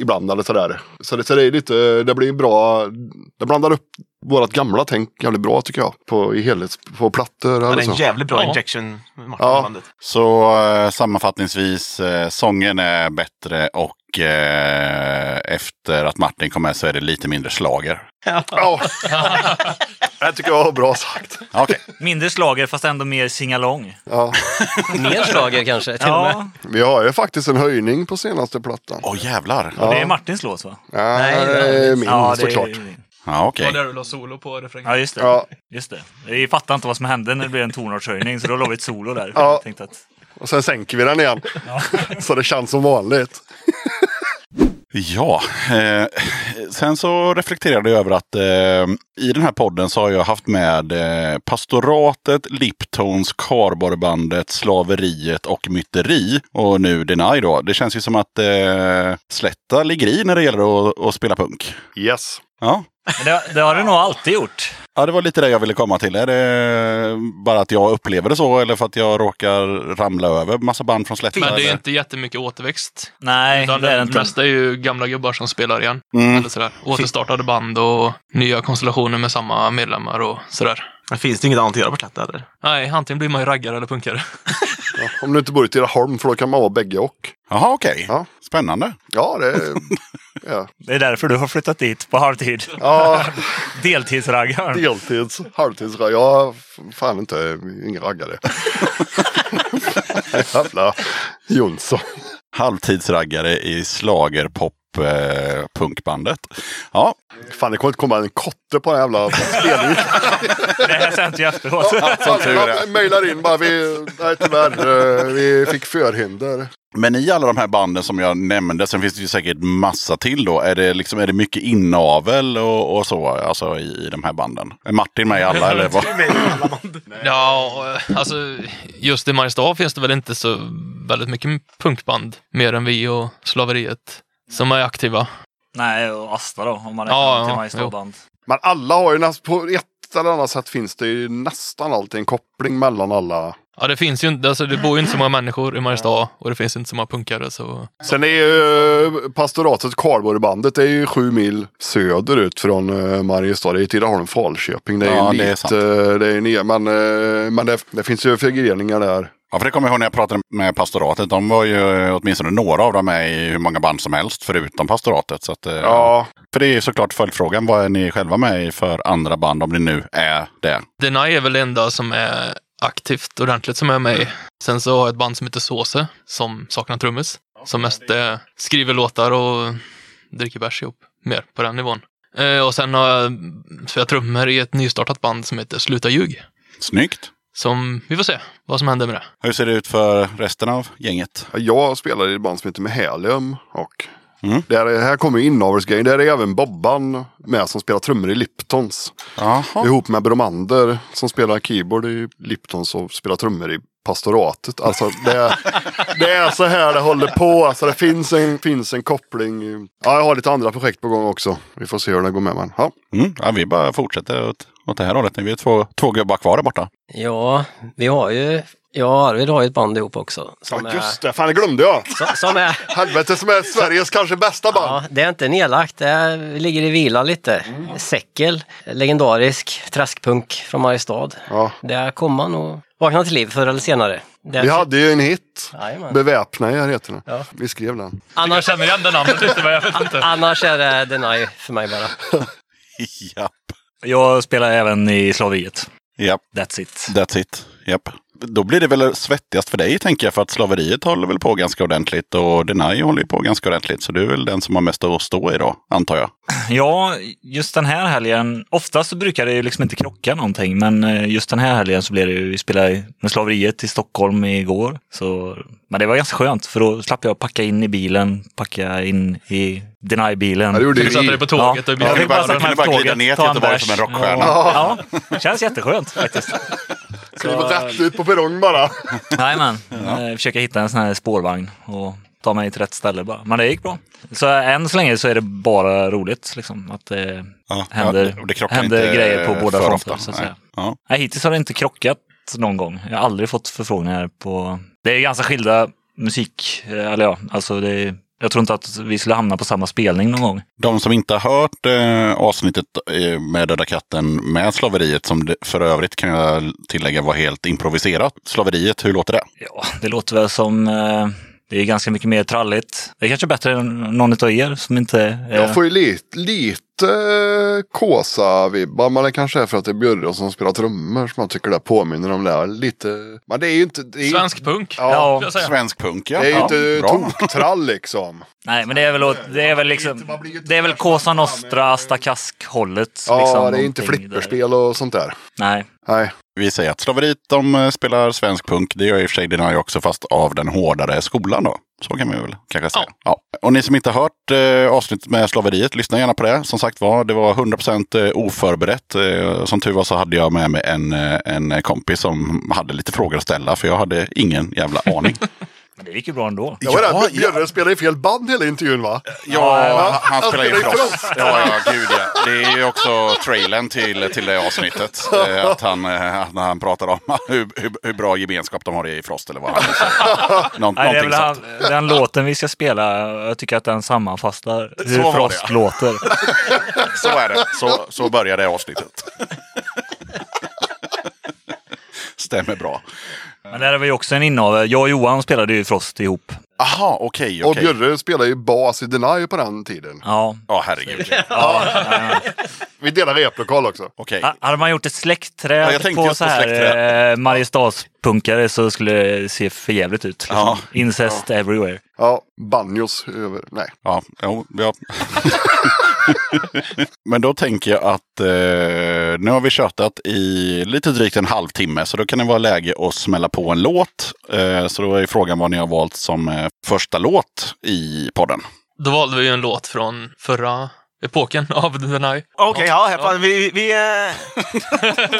A: ibland eller sådär. Så det, så det är lite, eh, det blir bra. Det blandar upp vårat gamla tänk jävligt bra tycker jag. På, i helhets, på plattor
E: Det
A: eller
E: är en
A: så.
E: jävligt bra
F: Ja.
E: injection, Martin,
A: Ja.
E: i bandet.
B: Så eh, sammanfattningsvis, eh, sången är bättre och eh, efter att Martin kom med så är det lite mindre slager.
A: Ja. Det tycker jag var bra sagt.
B: Okej,
G: Mindre slager fast ändå mer singalong.
A: Ja.
H: Mer slager kanske till och med.
G: Ja,
A: Vi har ju faktiskt en höjning på senaste plattan.
B: åh jävlar.
G: och det är Martins låt va?
A: Ja,
H: Nej,
A: det är Eh, min
G: ja, det
A: såklart.
G: Är,
B: Ja,
F: Det
B: okej.
F: var där du la solo på refrängen.
G: ja, just det.
A: Ja.
G: Just det. Vi fattar inte vad som hände när det blev en tonartshöjning så då la vi ett solo där.
A: Ja.
G: Jag tänkte att,
A: Och sen sänker vi den igen. Så det känns som vanligt.
B: Ja, eh, sen så reflekterade jag över att eh, i den här podden så har jag haft med eh, Pastoratet, Liptons, Karborbandet, Slaveriet och Myteri. Och nu Deny då. Det känns ju som att eh, Slätta ligger i när det gäller att, att spela punk.
A: Yes.
B: Ja.
G: men det, det har du nog alltid gjort.
B: ja, det var lite det jag ville komma till. Är det bara att jag upplever det så eller för att jag råkar ramla över massa band från Slätta?
F: Men det är
B: eller?
F: inte jättemycket återväxt.
G: Nej,
F: Utan
G: det är det
F: det
G: inte.
F: mesta är ju gamla gubbar som spelar igen.
B: Mm.
F: Eller sådär. Återstartade band och nya konstellationer med samma medlemmar och sådär.
E: Men Finns det inget annat att göra på Slätta eller?
F: Nej, antingen blir man ju raggare eller punkare.
A: Ja, om du inte bor i Tidaholm för då kan man vara bägge och.
B: Jaha, okej.
A: Ja.
B: Spännande.
A: Ja, det är... Ja,
G: Det är därför du har flyttat dit på halvtid.
A: ja
G: Deltidsraggaren.
A: deltids, halvtids. Jag är fan inte ingen raggare. Jävla Jonsson.
B: Halvtidsraggare i slagerpop eh, punkbandet. Ja,
A: Fan, det kommer inte komma en kotte på den här jävla spelningen.
G: Det här sänds ju efteråt.
A: Som
B: tur är.
A: mejlar in bara. Vi, nej, tyvärr. eh, Vi fick förhinder.
B: men i alla de här banden som jag nämnde, sen finns det ju säkert massa till då. Är det, liksom, är det mycket inavel och, och så alltså, i, i de här banden? Är Martin med i alla eller? Vad?
F: Ja, eh, alltså just i Mariestad finns det väl inte så väldigt mycket punkband. Mer än vi och Slaveriet. som är aktiva.
G: Nej, och Asta då, om man räknar
F: Ja,
G: till
F: ja,
G: My Store
F: jo.
G: Band.
A: Men alla har ju nästan, på ett eller annat sätt finns det ju nästan alltid en koppling mellan alla.
F: Ja, det finns ju inte, alltså det bor ju inte så många människor i Mariestad och det finns inte så många punkare så...
A: Sen är ju eh, pastoratet Karlborgbandet det är ju sju mil söderut från eh, Mariestad. Det är ju Tidaholm, Falköping. Det är
B: Ja,
A: ju
B: det är
A: lite,
B: sant.
A: eh, det är ju ner, men, eh, men det, det finns ju förgreningar där.
B: Ja, för det kommer jag ihåg när jag pratade med pastoratet. De var ju eh, åtminstone några av dem med i hur många band som helst förutom pastoratet. Så att, eh,
A: Ja,
B: För det är ju såklart följdfrågan. Vad är ni själva med i för andra band om det nu är det?
F: Denai är väl det enda som är aktivt ordentligt som är med i. Sen så har jag ett band som heter Såse som saknar trummis. Som mest eh, skriver låtar och dricker bärs ihop. Mer på den nivån. Eh, och sen har jag spelat trummor i ett nystartat band som heter Sluta ljug.
B: Snyggt!
F: Som, vi får se vad som händer med det.
B: Hur ser det ut för resten av gänget?
A: jag spelar i ett band som heter Mehelium. Och
B: Mm.
A: där, är- här kommer ju inavelsgrejen. Där är även Bobban med som spelar trummor i Liptons.
B: Jaha.
A: Ihop med Bromander som spelar keyboard i Liptons och spelar trummor i pastoratet. Alltså det, det är så här det håller på. Alltså det finns en, finns en koppling. Ja, jag har lite andra projekt på gång också. Vi får se hur det går med. Men, ja.
B: Mm, ja, vi bara fortsätter åt, åt det här hållet. Vi är två, två gubbar kvar där borta.
H: Ja, vi har ju... Jag och Arvid har ju ett band ihop också. Som
A: ja, just det. Fan, det glömde jag.
H: Är, som, som är...
A: Helvete som är Sveriges kanske bästa band.
H: Ja, det är inte nedlagt, det är, ligger i vila lite. Säckel, legendarisk traskpunk från Mariestad.
A: Ja.
H: Där kommer man och vakna till liv förr eller senare. Det
A: Vi hade ju en hit.
H: Jajamän.
A: Beväpna er heter den.
H: Ja.
A: Vi skrev den.
H: annars,
F: känner igen det namnet lite, men jag vet inte.
H: annars är det Deny för mig bara.
B: Japp.
G: Jag spelar även i Slaveriet.
B: Japp,
G: That's it.
B: that's it. Japp. Då blir det väl svettigast för dig tänker jag för att slaveriet håller väl på ganska ordentligt och Denai håller ju på ganska ordentligt. Så du är väl den som har mest att stå i då, antar jag.
G: Ja, just den här helgen. Oftast så brukar det ju liksom inte krocka någonting, men eh, just den här helgen så blev det ju, vi spelade i- med slaveriet i Stockholm igår. Så, men det var ganska skönt, för då slapp jag packa in i bilen, packa in i
A: Ja, det
G: Deny-bilen.
A: gjorde
F: Du satte
A: vi.
F: dig på tåget
G: Ja.
F: och i
G: Jag
F: bilen.
G: fick bara sätta mig
B: Kan
G: på
B: du bara glida
G: tåget,
B: ner till
G: ta en
B: Göteborg
G: bärs.
B: som en rockstjärna?
G: Ja, det känns jätteskönt faktiskt.
A: Kliva rätt ut på perrong bara.
G: Jajamän, ja. försöka hitta en sån här spårvagn och ta mig till rätt ställe bara. Men det gick bra. Så än så länge så är det bara roligt liksom, att det
B: Ja,
G: händer,
B: ja, och det krockar
G: händer
B: inte
G: grejer på båda
B: för
G: fronter.
B: ofta,
G: Så att
B: nej.
G: säga.
B: Ja.
G: Nej, hittills har det inte krockat någon gång. Jag har aldrig fått förfrågningar på... Det är ganska skilda musik, eh, eller ja, alltså det är... Jag tror inte att vi skulle hamna på samma spelning någon gång.
B: De som inte har hört eh, avsnittet eh, med Döda katten med slaveriet, som det, för övrigt kan jag tillägga var helt improviserat. Slaveriet, hur låter det?
G: Ja, det låter väl som... eh, Det är ganska mycket mer tralligt. Det är kanske bättre än någon av er som inte... eh,
A: Jag får ju lite, lite eh, Kåsa-vibbar, men det kanske är för att det är Björre som spelar trummor som man tycker det påminner om det. här. Lite, men det är ju inte... Det är, ju-
F: Svensk punk.
A: Ja,
F: skulle jag säga.
B: Svensk punk, ja.
A: det är ju
B: ja,
A: inte
B: bra.
A: toktrall liksom.
G: Nej, men det är väl, åt- det är väl liksom, det är väl Cosa Nostra, Asta Kask-hållet.
A: Ja,
G: liksom,
A: det är inte
G: någonting där.
A: flipperspel och sånt där.
G: Nej,
A: Nej,
B: Vi säger att slaveriet, de eh, spelar svensk punk. Det gör i och för sig Denai också, fast av den hårdare skolan då. Så kan vi väl kanske säga. Ja. Och ni som inte har hört eh, avsnittet med slaveriet, lyssna gärna på det. Som sagt var, det var 100% eh, oförberett. Eh, som tur var så hade jag med mig en, eh, en kompis som hade lite frågor att ställa, för jag hade ingen jävla aning.
G: men det gick ju bra ändå.
A: jag var
B: Ja,
A: rädd.
B: ja.
A: Björre spelar i fel band hela intervjun va?
B: Ja, han- han
A: Han
B: spelar ju
A: spelar ju
B: Frost. Ja, ja, gud ja. Det är ju också trailern till, till det avsnittet. eh, Att han, eh, att när han pratar om hur, hur, hur bra gemenskap de har i Frost eller vad han nu säger. Nå,
G: Nej, det är
B: någonting
G: väl han,
B: sånt.
G: den låten vi ska spela, jag tycker att den sammanfattar
B: Så var
G: hur
B: det,
G: Frost
B: ja.
G: låter.
B: Så är det. Så, så börjar det avsnittet. Stämmer bra.
G: Men där är vi ju också en innehavare. Jag och Johan spelade ju Frost ihop.
B: Aha, okej,
A: Och
B: okej.
A: Björre spelar ju bas i Deny på den tiden.
G: Ja.
B: Ja, herregud.
A: Vi delar replokal också.
B: Okej.
G: Ha- Hade man gjort ett släktträd
B: Ja, jag tänkte
G: på
B: just
G: så
B: på
G: här eh, Mariestadspunkare så skulle det se för jävligt ut. Liksom.
B: Ja.
G: Incest everywhere.
A: Ja, banjos över... Nej.
B: Ja, jo, ja. Men då tänker jag att eh, nu har vi tjötat i lite drygt en halvtimme så då kan det vara läge att smälla på en låt. Eh, så då är frågan vad ni har valt som eh, första låt i podden.
F: Då valde vi ju en låt från förra epoken av The Nye.
E: Okej, ja, här, fan, vi... vi eh,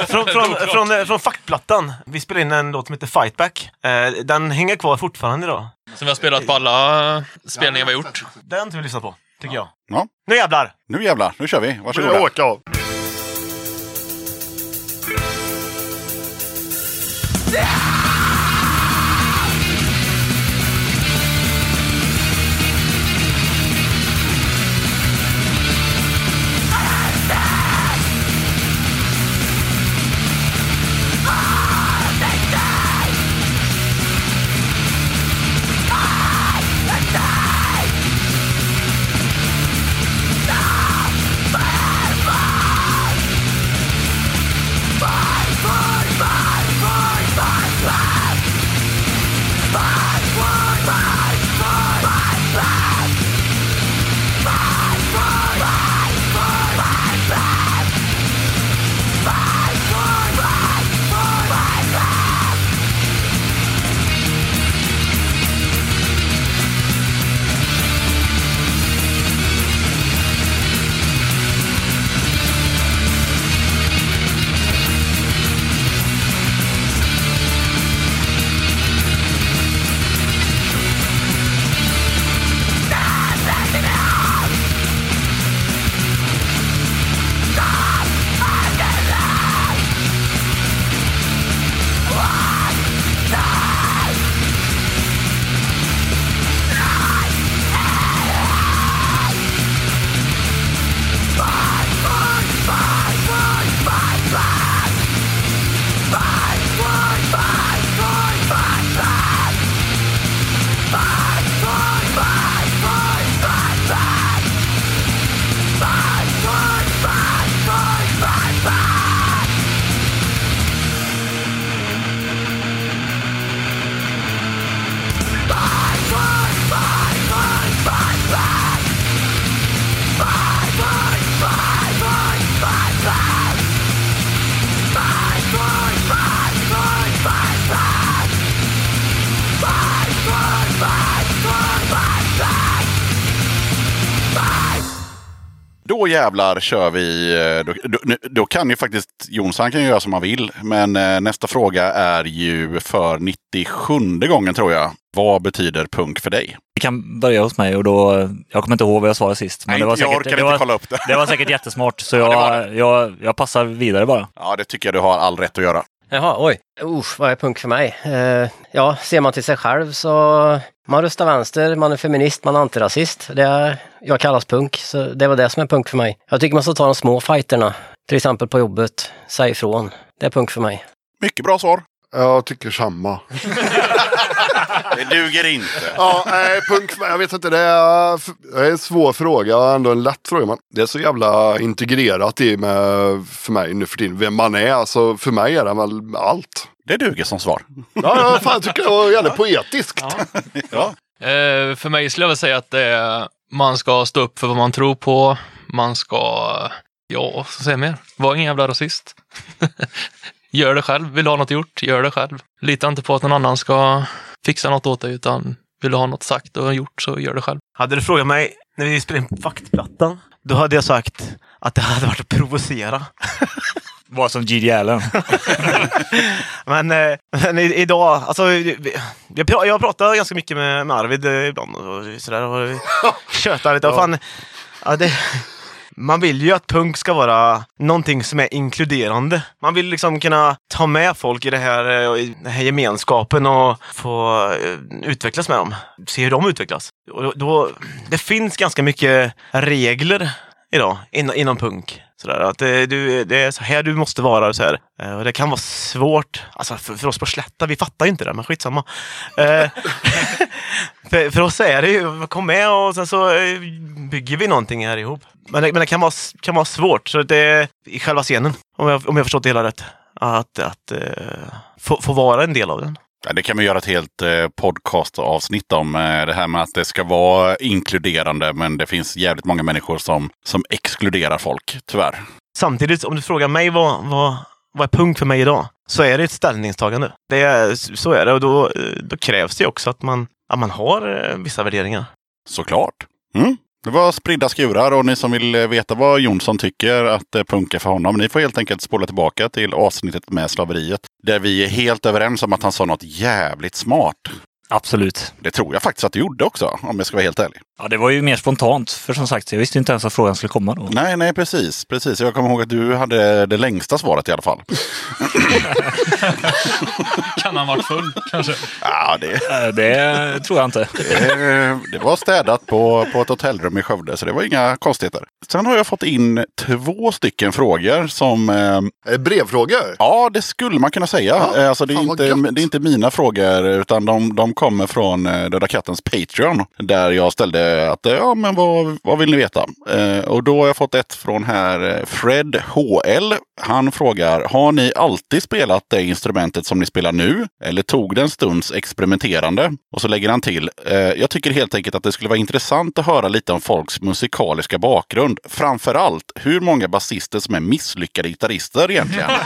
E: från, från, från, eh, från fackplattan. Vi spelade in en låt som heter Fight Back. Eh, den hänger kvar fortfarande idag.
F: Som vi har spelat på alla spelningar vi har gjort.
E: Den ska vi lyssna på, tycker jag.
B: Ja.
E: Nu jävlar!
B: Nu jävlar, nu kör vi.
A: Vill jag
B: Varsågoda.
A: åka av?
B: Då jävlar kör vi. eh, Då, då, nu- då kan ju faktiskt Jonsson kan ju göra som han vill. Men eh, nästa fråga är ju för 97 gången tror jag. Vad betyder punk för dig?
G: Vi kan börja hos mig och då, jag kommer inte ihåg vad jag svarade sist. Men
B: Nej,
G: det var
B: jag
G: säkert,
B: orkar
G: det
B: inte
G: var,
B: kolla upp det.
G: Det var säkert jättesmart, så jag,
B: det var
G: jag, jag passar vidare bara.
B: Ja, det tycker jag du har all rätt att göra.
H: Jaha, oj. Usch, vad är punk för mig? Eh, ja, ser man till sig själv så... Man röstar vänster, man är feminist, man är antirasist. Det är, jag kallas punk, så det var det som är punk för mig. Jag tycker man ska ta de små fighterna. Till exempel på jobbet, säg ifrån. Det är punk för mig.
B: Mycket bra svar.
A: Jag tycker samma.
B: Det duger inte.
A: Ja, nej, punk, jag vet inte, det är, det är en svår fråga och ändå en lätt fråga. Men det är så jävla integrerat i med, för mig nu för tiden, vem man är. Alltså, för mig är det väl allt.
B: Det duger som svar.
A: Ja, ja fan, jag tycker det var jävligt poetiskt.
B: Ja.
F: Eh, för mig skulle jag väl säga att det är, man ska stå upp för vad man tror på. Man ska, ja, vad ska jag säga mer? Var ingen jävla rasist. gör det själv. Vill du ha något gjort, gör det själv. Lita inte på att någon annan ska fixa något åt dig, utan vill du ha något sagt och gjort så gör det själv.
E: Hade du frågat mig när vi spelade in Faktplattan, då hade jag sagt att det hade varit att provocera.
G: Var som Gigi Allen.
E: Men, eh, men i- idag, alltså, vi- vi- jag, pra- jag pratar ganska mycket med, med Arvid eh, ibland och sådär. Och tjötar lite. Och fan, ja, det, man vill ju att punk ska vara någonting som är inkluderande. Man vill liksom kunna ta med folk i, det här, eh, och i den här gemenskapen och få eh, utvecklas med dem. Se hur de utvecklas. Och då, det finns ganska mycket regler idag inom, inom punk. Sådär, att det, du, det är så här du måste vara och så här. Eh, och det kan vara svårt. Alltså för, för oss på Slätta, vi fattar ju inte det, men skitsamma. Eh, för, för oss är det ju, kom med och sen så eh, bygger vi någonting här ihop. Men det, men det kan, vara, s- kan vara svårt, så det är i själva scenen, om jag, om jag förstått det hela rätt. Att, att eh, få, få vara en del av den.
B: Ja, det kan vi göra ett helt eh, podcastavsnitt om. Eh, det här med att det ska vara inkluderande men det finns jävligt många människor som, som exkluderar folk, tyvärr.
E: Samtidigt, om du frågar mig vad, vad, vad är punkt för mig idag? Så är det ett ställningstagande. Det är, så är det och då, eh, då krävs det ju också att man, att man har eh, vissa värderingar.
B: Såklart. Mm. Det var spridda skurar och ni som vill eh, veta vad Jonsson tycker att det punkar för honom, ni får helt enkelt spola tillbaka till avsnittet med slaveriet. Där vi är helt överens om att han sa något jävligt smart.
G: Absolut.
B: Det tror jag faktiskt att du gjorde också, om jag ska vara helt ärlig.
G: Ja, det var ju mer spontant. För som sagt, jag visste inte ens att frågan skulle komma då.
B: Nej, nej, precis. precis. Jag kommer ihåg att du hade det längsta svaret i alla fall.
F: Kan han varit full kanske?
B: Ja, det,
G: Eh, Det tror jag inte.
B: det, det var städat på, på ett hotellrum i Skövde, så det var inga konstigheter. Sen har jag fått in två stycken frågor som eh,
A: Eh, Brevfrågor?
B: Ja, det skulle man kunna säga.
A: Ja,
B: Eh, alltså, det, är
A: fan vad
B: inte,
A: gött.
B: det är inte mina frågor, utan de, de kommer från eh, Döda Kattens Patreon. Där jag ställde att, eh, ja men vad, vad vill ni veta? Eh, och då har jag fått ett från här, eh, Fred HL. Han frågar, har ni alltid spelat det instrumentet som ni spelar nu? Eller tog det en stunds experimenterande? Och så lägger han till, eh, jag tycker helt enkelt att det skulle vara intressant att höra lite om folks musikaliska bakgrund. Framför allt, hur många basister som är misslyckade gitarrister egentligen? Eh,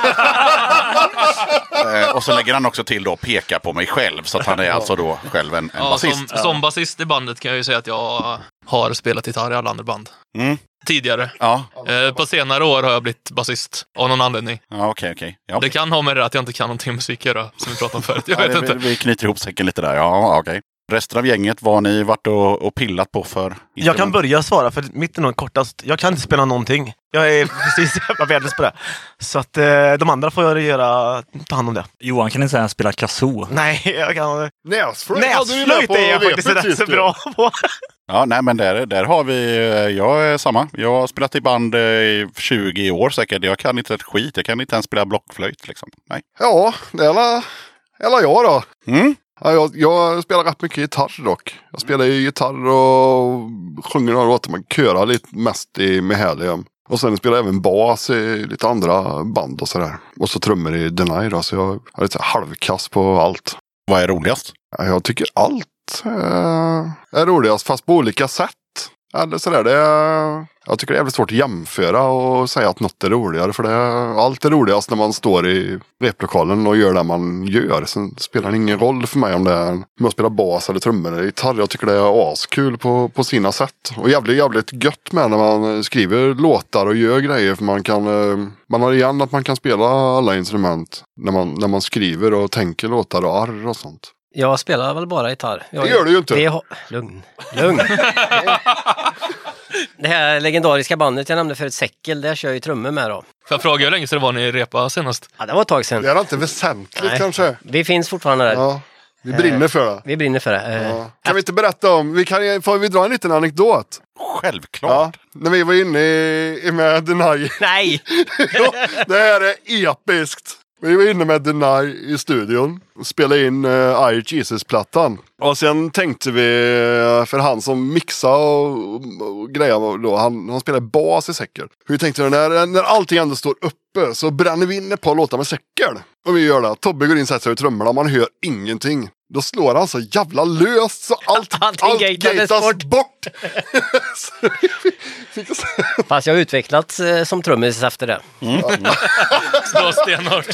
B: och så lägger han också till då peka på mig själv. Så att han är alltså då själv en, en
F: Ja,
B: basist.
F: som, som basist i bandet kan jag ju säga att jag har spelat gitarr i alla andra band.
B: Mm.
F: Tidigare.
B: Ja,
F: Eh, på senare år har jag blivit basist av någon anledning.
B: ja okej, okej. Ja.
F: Det kan ha med det att jag inte kan någonting med musik att göra, som vi pratade om förut. Jag
B: Ja,
F: vet
B: det-
F: inte.
B: Vi, vi knyter ihop säcken lite där. Ja, okej. Resten av gänget, vad har ni varit och, och pillat på för?
E: Jag kan börja svara, för mitt är nog kortast. Jag kan inte spela någonting. Jag är precis jävla värdelös på det. Så att eh, de andra får göra, ta hand om det.
G: Johan kan inte ens spela kazoo.
E: Nej, jag kan...
A: Näsflöjt hade du ju med
E: Näsflöjt
A: på
E: är jag faktiskt
A: repet
E: rätt
A: sist
E: så
A: ju.
E: bra på.
B: Ja, nej, men där, där har vi... eh, Jag är samma. Jag har spelat i band eh, i 20 år säkert. Jag kan inte ett skit. Jag kan inte ens spela blockflöjt. Liksom. Nej.
A: Ja, eller, eller jag då.
B: Mm.
A: Ja, jag, jag spelar rätt mycket gitarr dock. Jag spelar ju gitarr och sjunger några låtar. Man körar lite mest i Mehelium. Och sen spelar jag även bas i lite andra band och sådär. Och så trummor i Deny då. Så jag har lite så här halvkass på allt.
B: Vad är roligast?
A: Ja, Jag tycker allt eh, är roligast fast på olika sätt. Eller sådär. Det, är- jag tycker det är jävligt svårt att jämföra och säga att något är roligare. För det, är- allt är roligast när man står i replokalen och gör det man gör. Sen spelar det ingen roll för mig om det är om jag spelar bas eller trummor eller gitarr. Jag tycker det är askul på, på sina sätt. Och jävligt, jävligt gött med när man eh, skriver låtar och gör grejer. För man kan, eh, man har igen att man kan spela alla instrument. När man, när man skriver och tänker låtar och arr och sånt.
H: Jag spelar väl bara gitarr. Jag,
A: Det gör du ju inte.
H: Det har- lugn, lugn. det här legendariska bandet jag nämnde förut, Säckel, där kör jag ju trummor med då.
F: För jag frågade hur länge sedan det var ni repa senast.
H: Ja, det var ett tag sedan.
A: Det är inte väsentligt
H: Nej.
A: kanske.
H: Vi finns fortfarande där.
A: Ja, vi brinner för det.
H: Vi brinner för det. Eh,
A: Ja. Kan vi inte berätta om, vi kan, får vi dra en liten anekdot?
B: Självklart.
A: Ja, när vi var inne i, i med Deny.
H: Nej!
A: Jo, det här är episkt. Vi var inne med Deny i studion och spelade in uh, I Jesus-plattan. Och sen tänkte vi, eh, för han som mixade och, och grejade då, han, han spelade bas i säcken. Vi tänkte vi, när, när allting ändå står uppe så bränner vi in ett par låtar med säcken. Och vi gör det. Tobbe går in och sätter sig vid trummorna, man hör ingenting. Då slår han så jävla löst så allt,
H: Allting gatades bort.
A: bort. så vi fick oss-
H: Fast jag har utvecklats eh, som trummis efter det.
F: Slå stenhårt.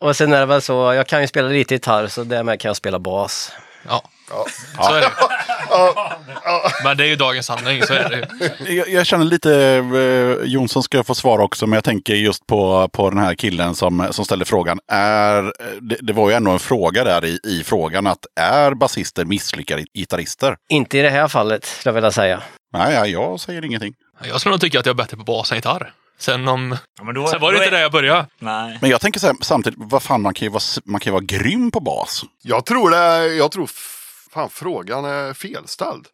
H: Och sen är det väl så, jag kan ju spela lite gitarr så därmed kan jag spela bas.
F: Ja. Så är det. Men det är ju dagens sanning, så är det ju.
B: Jag, jag känner lite, eh, Jonsson ska få svara också, men jag tänker just på, på den här killen som, som ställde frågan. Är, eh, det, det var ju ändå en fråga där i, i frågan, att är basister misslyckade gitarrister?
H: Inte i det här fallet, skulle jag vilja säga.
B: Nej, ja, jag säger ingenting.
F: Jag skulle nog tycka att jag är bättre på bas än gitarr. Sen, om,
G: Ja, men då,
F: sen var det
G: då
F: inte
G: är-
F: där jag började.
G: Nej.
B: Men jag tänker så här, samtidigt, vad fan, man kan ju vara, s- man kan ju vara grym på bas.
A: Jag tror det, jag tror f- fan frågan är felställd.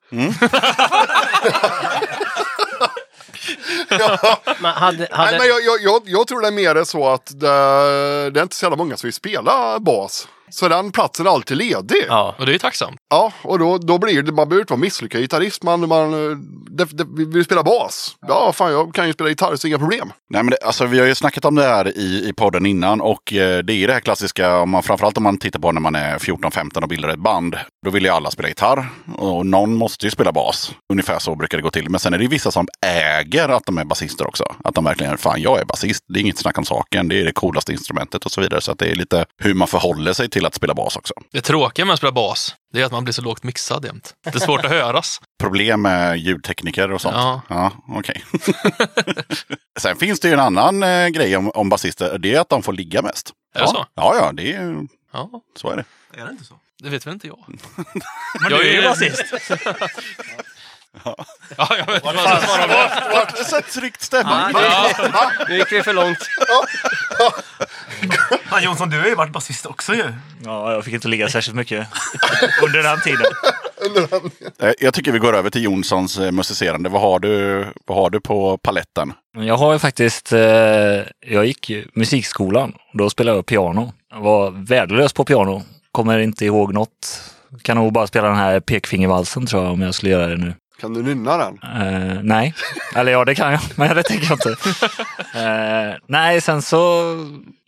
H: Men hade, hade...
A: Nej, men jag, jag, jag, jag tror det är mer så att det, det är inte så jävla många som vill spela bas. Så den platsen är alltid ledig. Ja,
H: Ja.
F: Och det är ju tacksamt.
A: och då, då blir det, man behöver inte vara misslyckad gitarrist, man, man eh, det, det, vi vill spela bas. Ja, fan jag kan ju spela gitarr så inga problem.
B: Nej, men det, alltså, vi har ju snackat om det här i, i podden innan och eh, det är det här klassiska, om man, framförallt om man tittar på när man är 14-15 och bildar ett band. Då vill ju alla spela gitarr och någon måste ju spela bas. Ungefär så brukar det gå till. Men sen är det ju vissa som äger att de är basister också. Att de verkligen, fan jag är basist, det är inget snack om saken, det är det coolaste instrumentet och så vidare. Så att det är lite hur man förhåller sig till att spela bas också.
D: Det tråkiga med att spela bas, det är att man blir så lågt mixad jämt. Det är svårt att höras.
B: Problem med ljudtekniker och sånt?
D: Ja.
B: Ja, okej. Sen finns det ju en annan eh, grej om, om basister. Det är att de får ligga mest.
D: Är det
B: ja.
D: så?
B: Ja, ja, det är,
D: Ja,
B: så är det.
E: Är det inte så?
D: det vet väl inte jag.
I: Men
D: Jag
I: du är ju
D: är-
I: basist.
D: Ja, jag vet inte.
B: Vart det så tryckt stämning?
H: Nu gick vi för långt.
E: Fan Jonsson, du har ju varit basist också ju.
I: Ja, jag fick inte ligga särskilt mycket under den tiden.
B: Eh, Jag tycker vi går över till Jonssons eh, musicerande. Vad har du, vad har du på paletten?
G: Jag har ju faktiskt, eh, jag gick ju musikskolan. Då spelade jag piano. Jag var värdelös på piano. Kommer inte ihåg något. Kan nog bara spela den här pekfingervalsen tror jag om jag skulle göra det nu.
A: Kan du nynna den?
G: Eh, nej, eller ja det kan jag, men det tänker jag inte. Eh, nej, sen så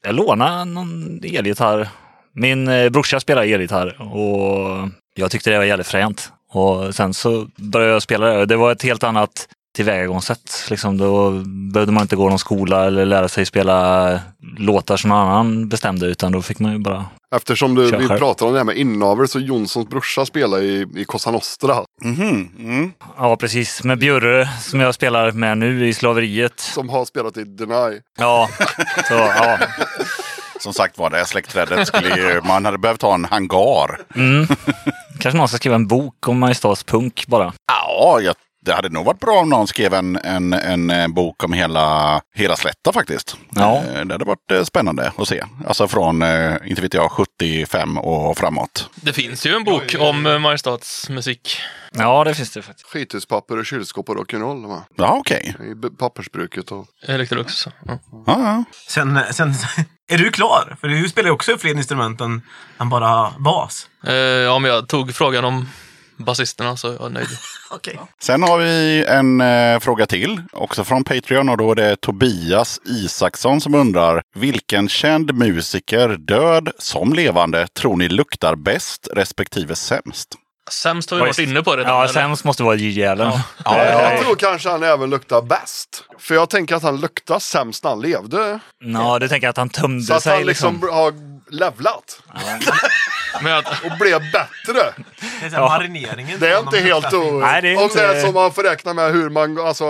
G: jag lånade någon elgitarr. Min eh, brorsa spelade elgitarr och jag tyckte det var jävligt fränt. Och sen så började jag spela det. Det var ett helt annat tillvägagångssätt. Liksom, då behövde man inte gå någon skola eller lära sig spela låtar som någon annan bestämde, utan då fick man ju bara...
A: Eftersom du,
G: Kör
A: vi
G: själv.
A: pratar om det här med inavel så Jonssons brorsa spelar i, i Cosa Nostra.
B: Mhm, mm.
G: Ja, precis. Med Björre, som jag spelar med nu i slaveriet.
A: Som har spelat i Deny.
G: Ja, så, ja.
B: Som sagt var, det här släktträdet skulle ju... Man hade behövt ha en hangar.
G: Mm. Kanske någon ska skriva en bok om Mariestads punk bara.
B: Ja, jag, det hade nog varit bra om någon skrev en, en, en eh, bok om hela, hela slätta faktiskt.
G: Ja.
B: Eh, Det hade varit eh, spännande att se. Alltså från, eh, inte vet jag, 75 och framåt.
D: Det finns ju en bok om eh, Mariestads musik.
G: Ja, det finns det faktiskt.
A: Skithuspapper och kylskåp och rock'n'roll. va?
B: Ja, okej.
A: I b- pappersbruket och...
D: Electrolux. Ja.
B: Ja, ja.
E: Sen, sen är du klar? För du spelar ju också fler instrument än, än bara bas.
D: Eh, ja, men jag tog frågan om basisterna så jag är nöjd.
E: Okej.
B: Sen har vi en eh, fråga till, också från Patreon. Och då är det Tobias Isaksson som undrar. Vilken känd musiker, död som levande, tror ni luktar bäst respektive sämst?
D: Sämst har vi varit inne på redan.
G: Ja,
D: eller?
G: sämst måste vara Gigi Allen. Ja.
A: jag tror kanske han även luktar bäst. För jag tänker att han luktar sämst när han levde.
G: du tänker att han tömde
A: Så att
G: sig
A: han
G: liksom.
A: liksom br- har levlat
D: Men jag,
A: och blev bättre.
E: Det är så här marineringen.
A: Det är inte helt o...
G: Nej, det är
A: Om
G: inte-
A: det är som man får räkna med hur man... Alltså,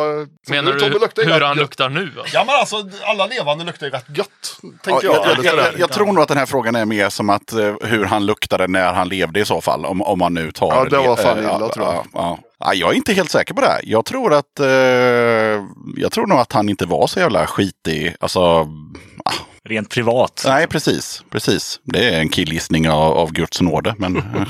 A: som
D: menar
A: Tobbe luktar
D: du
A: ju
D: hur
A: rätt
D: han
A: gött.
D: luktar nu? va?
A: Ja men alltså alla levande luktar ju rätt gött. Tänker
B: Ja,
A: jag.
B: jag, jag,
A: Eller så är
B: jag,
A: det-
B: jag, tror nog att den här frågan är mer som att eh, hur han luktade när han levde i så fall. Om, om man nu tar...
A: Ja, det var fan
B: eh,
A: illa,
B: ja,
A: tror jag.
B: Ja, ja. Ja, jag är inte helt säker på det här. Jag tror att... Eh, jag tror nog att han inte var så jävla skitig. Alltså... ah,
G: Rent privat.
B: Nej, precis. Precis. Det är en killgissning av, av Guds nåde. Men,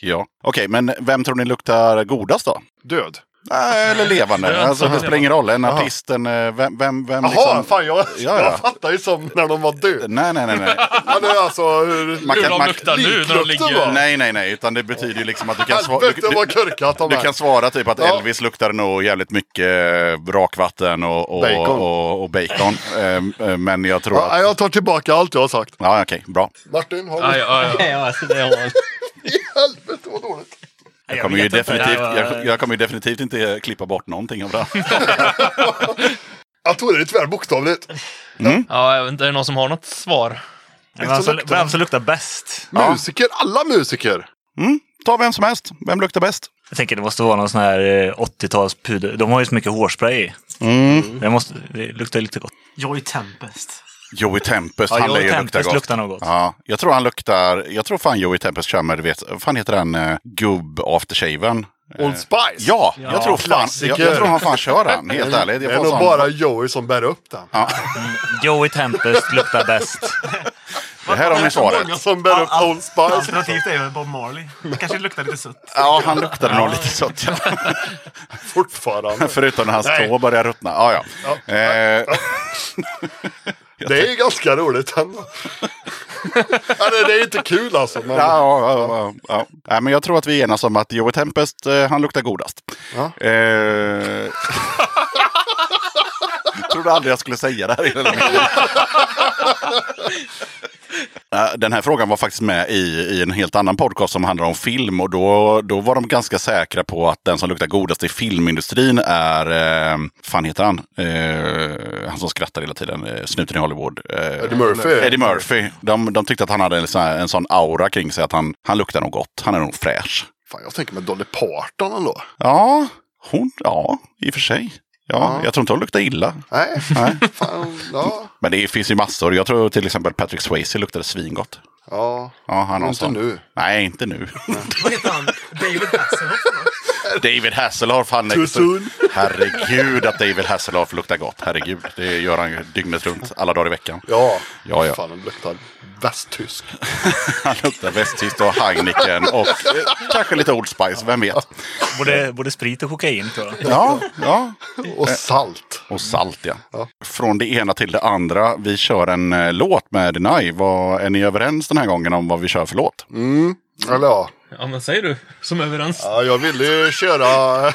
B: ja. Okej, men vem tror ni luktar godast då?
A: Död.
B: Nej, Eller levande. Alltså, det spelar ingen roll. En
A: Jaha.
B: artist, en... eh, Vem, vem,
A: Jaha,
B: vem liksom...
A: fan jag,
B: ja.
A: jag fattar ju som när de var död.
B: Nej, nej, nej. nej.
A: Ja, det är alltså hur...
B: Man
D: Hur
B: kan-
D: de
B: man-
D: luktar nu när de
A: liklukten
D: ligger...
A: var.
B: Nej, nej, nej. Utan det betyder ju liksom att du kan svara...
A: Helvete vad korkat de
B: Du
A: är.
B: kan svara typ att
A: Ja.
B: Elvis luktar nog jävligt mycket eh, rakvatten och, och
A: Bacon.
B: Och, och bacon. Ehm, eh, Men jag tror
A: Ja,
B: att...
A: jag tar tillbaka allt jag har sagt.
B: Ja, okej, bra.
A: Martin, har du...
D: Ja, ja, ja.
A: I helvete vad dåligt.
B: Jag kommer, ju
G: vet inte.
B: definitivt,
G: Det här var-
B: jag, jag kommer ju definitivt inte klippa bort någonting av det här.
A: Jag tog det lite väl bokstavligt.
B: Mm.
D: ja, jag vet inte. Är det någon som har något svar?
G: Vem som,
A: luktar-
G: alltså, vem som luktar bäst?
A: Musiker, alla musiker.
B: Mm, ta vem som helst. Vem luktar bäst?
G: Jag tänker det måste vara någon sån här eh, 80-tals puder. De har ju så mycket hårspray i.
B: Mm.
G: Det, måste, det luktar lite gott.
E: Joy Tempest.
B: Joey Tempest,
G: Ja,
B: han lär
G: Joey
B: ju lukta
G: Tempest
B: gott.
G: luktar något.
B: Ja, jag tror han luktar, jag tror fan Joey Tempest kör med, du vet, vad fan heter den, uh, gubb aftershaven?
A: Old Spice.
B: Eh, Ja, jag tror fan, jag,
A: Klassiker.
B: jag tror han fan kör den, helt ärligt.
A: Det
B: Jag
A: är
B: får
A: nog
B: sån-
A: bara Joey som bär upp den.
G: Joey Tempest luktar bäst.
B: Det här har ni svaret.
A: Många som bär upp Old Spice.
E: Alternativt är ju Bob Marley. Det kanske luktar lite sött.
B: Ja, han luktade nog lite sött. ja.
A: Fortfarande.
B: Förutom när hans
A: Nej.
B: tå börjar ruttna. Ja, ja. Eh,
A: Det är ju ganska roligt ändå. Eller det är inte kul alltså. Men...
B: Ja, ja, ja, ja, ja. Nej, men jag tror att vi enas om att Joey Tempest, eh, han luktar godast.
A: Ja.
B: Eh, jag trodde aldrig jag skulle säga det här i den här meningen. Eh, Den här frågan var faktiskt med i, i en helt annan podcast som handlar om film och då, då var de ganska säkra på att den som luktar godast i filmindustrin är, eh, fan heter han? Eh, han som skrattar hela tiden, eh, snuten i Hollywood. Eh,
A: Eddie Murphy.
B: Eddie Murphy. De, de tyckte att han hade en sån, här, en sån aura kring sig att han, han luktar nog gott, han är nog fräsch.
A: Fan, jag tänker med Dolly Parton ändå.
B: Ja, hon, ja, i och för sig. Ja, jag tror inte hon luktar illa.
A: Nej,
B: Nej.
A: fan, ja.
B: Men det finns ju massor. Jag tror till exempel Patrick Swayze luktade svingott.
A: ja.
B: Ja, han har en
A: Inte
B: sån.
A: nu.
B: Nej, inte nu.
E: Vad heter han? David Hasselhoff?
B: David Hasselhoff, han är...
A: Too soon.
B: Herregud att David Hasselhoff luktar gott. Herregud, det gör han ju dygnet runt, alla dagar i veckan.
A: Ja,
B: Ja, ja.
A: fan den luktar västtysk.
B: Han luktar västtyskt och Heineken och eh, kanske lite Old Spice, vem vet?
J: Både, både sprit och kokain tror jag.
B: Ja, ja.
F: Eh.
A: Och salt.
B: Och salt, ja.
A: Ja.
B: Från det ena till det andra. Vi kör en eh, låt med Denai. Vad, är ni överens den här gången om vad vi kör för låt?
A: Mm. Eller ja.
F: Ja, men säger du. Som överens.
A: ja, jag ville ju köra... Jag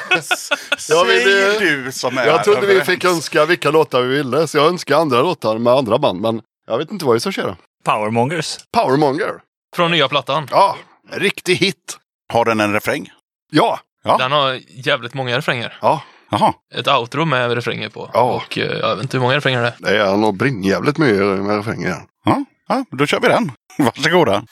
A: vill,
B: Säger
A: eh,
B: du som är
A: Jag trodde vi
B: överens.
A: fick önska vilka låtar vi ville, så jag önskar andra låtar med andra band, men jag vet inte vad vi ska köra.
J: Powermongers.
A: Powermonger.
F: Från nya plattan.
A: Ja, en riktig hit.
B: Har den en refräng?
A: Ja,
B: Ja.
F: Den har jävligt många refränger.
A: ja.
B: Jaha.
F: Ett outro med refränger på.
A: Ja.
F: Och eh, jag vet inte hur många refränger det är.
A: Det är nog brinnjävligt mycket med refränger.
B: Ja, ja, då kör vi den. Varsågoda.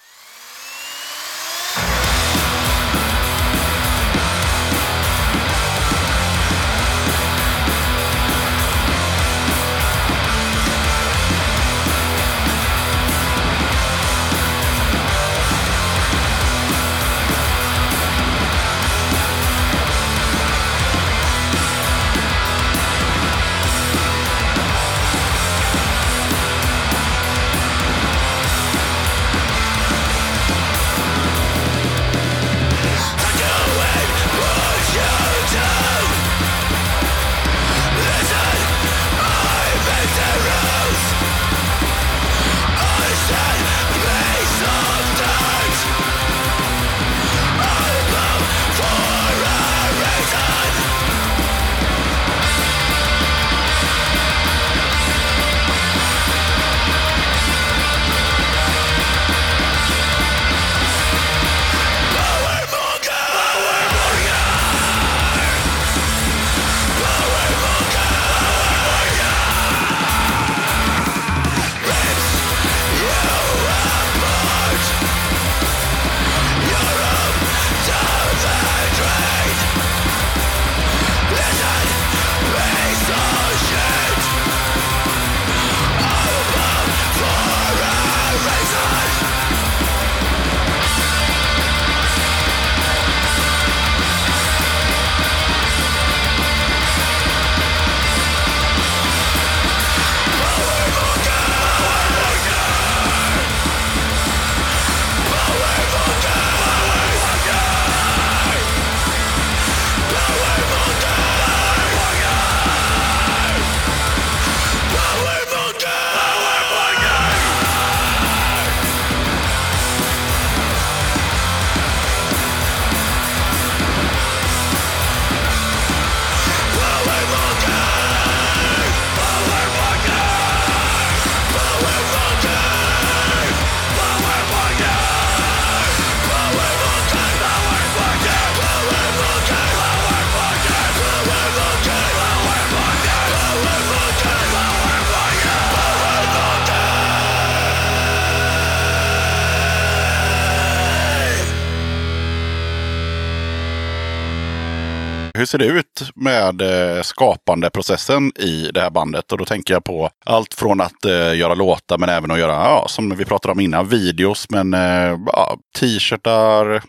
B: Hur ser det ut med eh, skapandeprocessen i det här bandet? Och då tänker jag på allt från att eh, göra låtar men även att göra, ja, som vi pratade om innan, videos men eh, ja, t-shirtar, eh,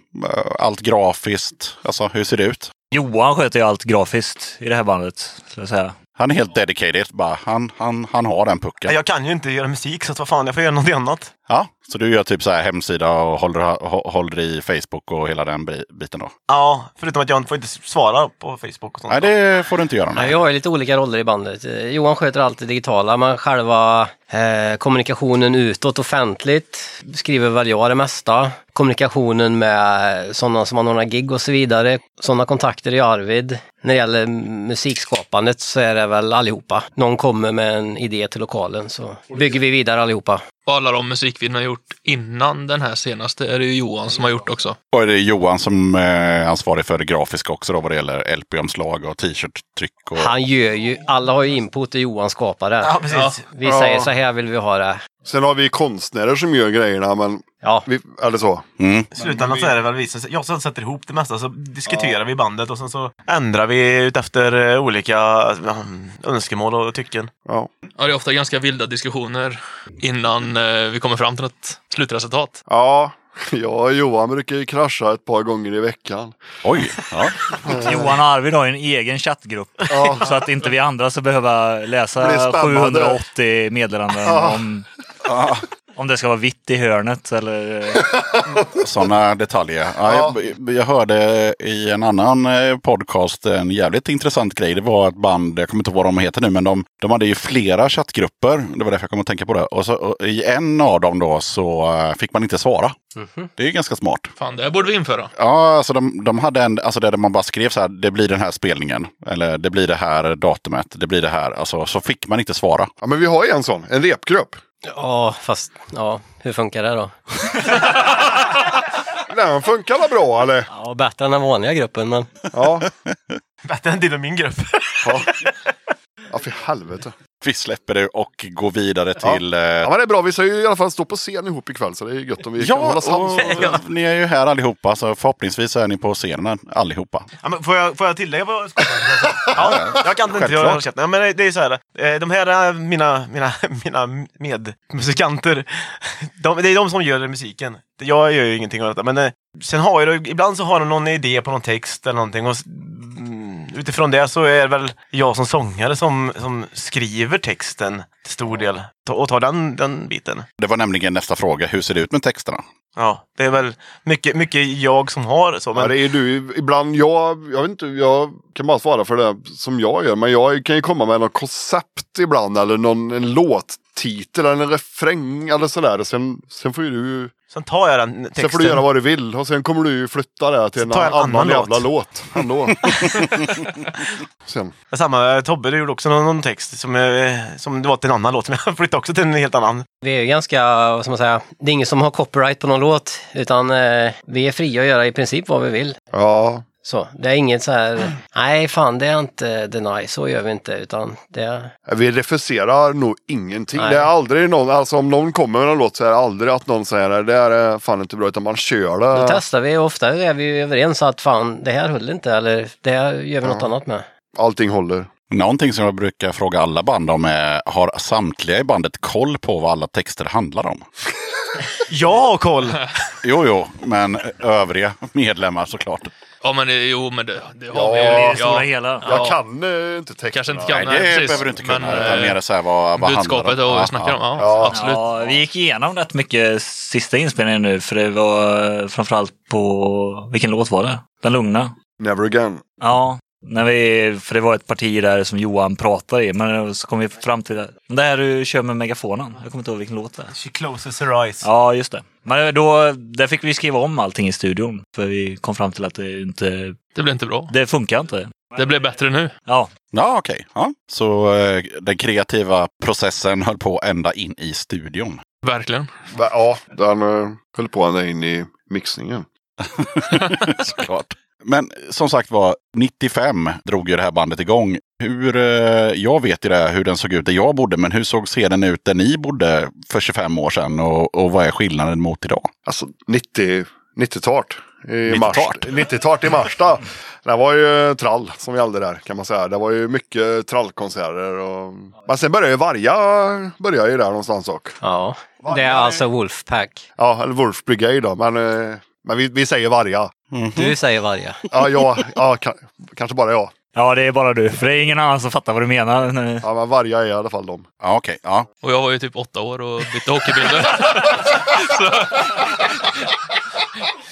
B: allt grafiskt. Alltså hur ser det ut?
J: Johan sköter ju allt grafiskt i det här bandet. Skulle jag säga.
B: Han är helt dedicated, bara, han, han, han har den pucken.
E: Jag kan ju inte göra musik, så att vad fan, jag får göra något annat.
B: Ja, så du gör typ så här hemsida och håller, hå- håller i Facebook och hela den bi- biten då?
E: Ja, förutom att jag får inte svara på Facebook och sånt.
B: Nej, det får du inte göra.
H: Ja,
B: Nej.
H: jag har ju lite olika roller i bandet. Eh, Johan sköter allt det digitala, men själva eh, kommunikationen utåt offentligt skriver väl jag det mesta. Kommunikationen med sådana som anordnar gig och så vidare. Sådana kontakter i Arvid. När det gäller musikskapandet så är det väl allihopa. Någon kommer med en idé till lokalen så bygger vi vidare allihopa.
D: Och alla de musikvideorna jag gjort innan den här senaste är det ju Johan som har gjort också.
B: Och är det Johan som eh, är ansvarig för det grafiska också då vad det gäller LP-omslag och t-shirt-tryck? Och...
H: Han gör ju, alla har ju input och Johan skapar det.
E: Ja, precis.
H: Vi säger så här vill vi ha det.
A: Sen har vi konstnärer som gör grejerna, men
H: Ja,
A: vi, eller så.
B: Mm.
E: I slutändan så är det väl vi som, jag som sätter ihop det mesta, så diskuterar vi bandet och sen så ändrar vi ut efter eh, olika ja, önskemål och tycken.
A: Ja.
D: Ja, det är ofta ganska vilda diskussioner innan eh, vi kommer fram till ett slutresultat.
A: ja, jag och Johan brukar ju krascha ett par gånger i veckan.
B: Oj! Ja.
G: Johan och Arvid har ju en egen chattgrupp. Så att inte vi andra ska behöva
A: Bli
G: läsa
A: spammade.
G: 780 meddelanden om, om det ska vara vitt i hörnet eller...
B: Sådana detaljer. Ja, jag, jag hörde i en annan eh, podcast en jävligt intressant grej. Det var ett band, jag kommer inte ihåg vad de heter nu, men de, de hade ju flera chattgrupper. Det var därför jag kom att tänka på det. Och, så, och i en av dem då så eh, fick man inte svara. Det är ju ganska smart.
D: Mhm. Fan, det här borde vi införa.
B: Ja, alltså de, de hade en, alltså där man bara skrev så här, det blir den här spelningen. Eller det blir det här datumet, det blir det här. Alltså så fick man inte svara.
A: Ja, men vi har ju en sån, en repgrupp.
H: ja fast ja, hur funkar det då?
A: Den funkar väl bra eller?
H: Ja, bättre än den vanliga gruppen, men
A: Ja.
E: Bättre än till och min grupp.
A: Ja, ja för helvete.
B: Vi släpper det och går vidare
A: Ja.
B: till... eh,
A: Ja, men det är bra, vi ska ju i alla fall stå på scen ihop ikväll så det är ju gött om vi kan hålla sams.
B: och, ni är ju här allihopa, så förhoppningsvis är ni på scenen allihopa.
E: Ja, men får, jag, får jag tillägga vad jag ska säga? ja, Jag kan inte göra
B: Självklart.
E: käften. Ja, men det- det är så här. eh, De här eh, mina, mina, mina medmusikanter, de, det är de som gör musiken. Jag gör ju ingenting av detta. Men eh, sen har jag, ibland så har de någon idé på någon text eller någonting. Och, s- mm, utifrån det så är det väl jag som sångare som, som skriver texten till stor del. Ta- Och tar den, den biten.
B: Det var nämligen nästa fråga, hur ser det ut med texterna?
E: Ja, det är väl mycket, mycket jag som har så.
A: Ja,
E: Men
A: det är du, ibland, jag, jag vet inte, jag kan bara svara för det som jag gör, men jag kan ju komma med något koncept ibland eller någon en låttitel eller en refräng eller sådär. Och Sen, sen får ju du,
E: sen tar jag den texten.
A: sen får du göra vad du vill och sen kommer du ju flytta det till
E: Sen
A: en,
E: tar jag en
A: annan,
E: annan låt.
A: jävla låt. ändå. sen,
E: Ja, Samma, Tobbe du gjorde också någon, någon text som, eh, som det var till en annan låt, men jag flyttade också till en helt annan.
H: vi är ju ganska, vad ska man säga, det är ingen som har copyright på någon låt, utan eh, vi är fria att göra i princip vad vi vill.
A: ja,
H: Så, det är inget så här, nej fan det är inte Deny, så gör vi inte, utan det,
A: vi refuserar nog ingenting.
H: Nej.
A: Det är aldrig någon, alltså om någon kommer med en låt så är det aldrig att någon säger det där är fan inte bra utan man kör det.
H: då testar vi och ofta är vi ju överens att fan det här höll inte, eller det här gör vi något annat med.
A: Allting håller.
B: Någonting som jag brukar fråga alla band om är, har samtliga i bandet koll på vad alla texter handlar om?
E: Jag har koll!
B: Jo, jo, men övriga medlemmar såklart.
D: Ja, men det, jo, men det, det har
A: Ja,
D: vi
A: det
G: I
D: ju.
G: det stora hela.
A: Jag
D: Ja.
A: kan eh, inte texterna.
D: Kanske inte kan.
B: Nej, det
D: Nej, precis.
B: behöver du inte kunna,
D: Men,
B: utan
D: eh,
B: mer så här, vad, vad handlar
D: Budskapet
B: det
D: och
B: om?
D: vad vi
B: Ja,
D: snackar om.
B: ja.
D: Ja,
A: Ja.
D: absolut.
G: Ja, vi gick igenom rätt mycket sista inspelningen nu, för det var eh, framförallt på, vilken låt var det? Den lugna?
A: Never again.
G: Ja, när vi, för det var ett parti där som Johan pratade i, men så kom vi fram till det. Det här du kör med megafonen, jag kommer inte ihåg vilken låt det är.
E: She closes her eyes.
G: Ja, just det. Men då, där fick vi skriva om allting i studion, för vi kom fram till att det inte,
D: Det blev inte bra.
G: det funkar inte.
D: Det blev bättre nu.
G: Ja,
B: Ja, okej. Ja. Så eh, den kreativa processen höll på ända in i studion.
D: Verkligen.
A: Va- Ja, den eh, höll på ända in i mixningen.
B: Såklart. Men som sagt var, 95 drog ju det här bandet igång. Hur, eh, jag vet ju det, hur den såg ut där jag bodde, men hur såg scenen ut där ni bodde för 25 år sedan och, och vad är skillnaden mot idag?
A: Alltså 90, 90-tart. I
B: 90-tart.
A: mars, 90-tart i Marsta. Det var ju trall som gällde där kan man säga. Det var ju mycket trallkonserter. Och... Men sen började ju Varga började ju där någonstans också.
H: Ja, det är alltså Wolfpack.
A: Ja, eller Wolf Brigade då. Men, eh, men vi, vi säger Varga.
H: Du säger varje.
A: Ja, jag, ja ka, kanske bara jag.
G: ja det är bara du, för det är ingen annan som fattar vad du menar. nu.
A: Ja, men Varga är i alla fall de.
B: Ja, okej. Ja.
D: Och jag var ju typ åtta år och bytte hockeybilder. så...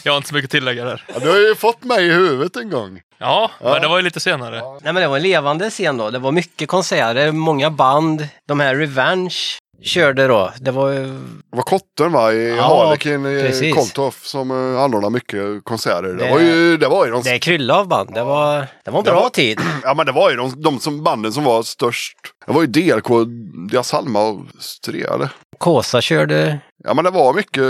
D: Jag har inte så mycket att tillägga där.
A: Ja, du har ju fått mig i huvudet en gång.
D: Ja, men det var ju lite senare.
H: Nej men det var en levande scen då. Det var mycket konserter, många band. De här Revenge körde då, det var ju...
A: Det var Kotten va, i
H: Ja,
A: Harlekin i
H: precis.
A: Koltoff som eh, anordnade mycket konserter. Det,
H: Det-
A: var ju, det var ju de,
H: Det är krylla av band. Det var, det var en
A: Det
H: bra
A: var-
H: tid.
A: ja, men det var ju de, de som, banden som var störst. Det var ju DRK, Dias Halma och Strele.
H: Kåsa körde.
A: Ja men det var mycket,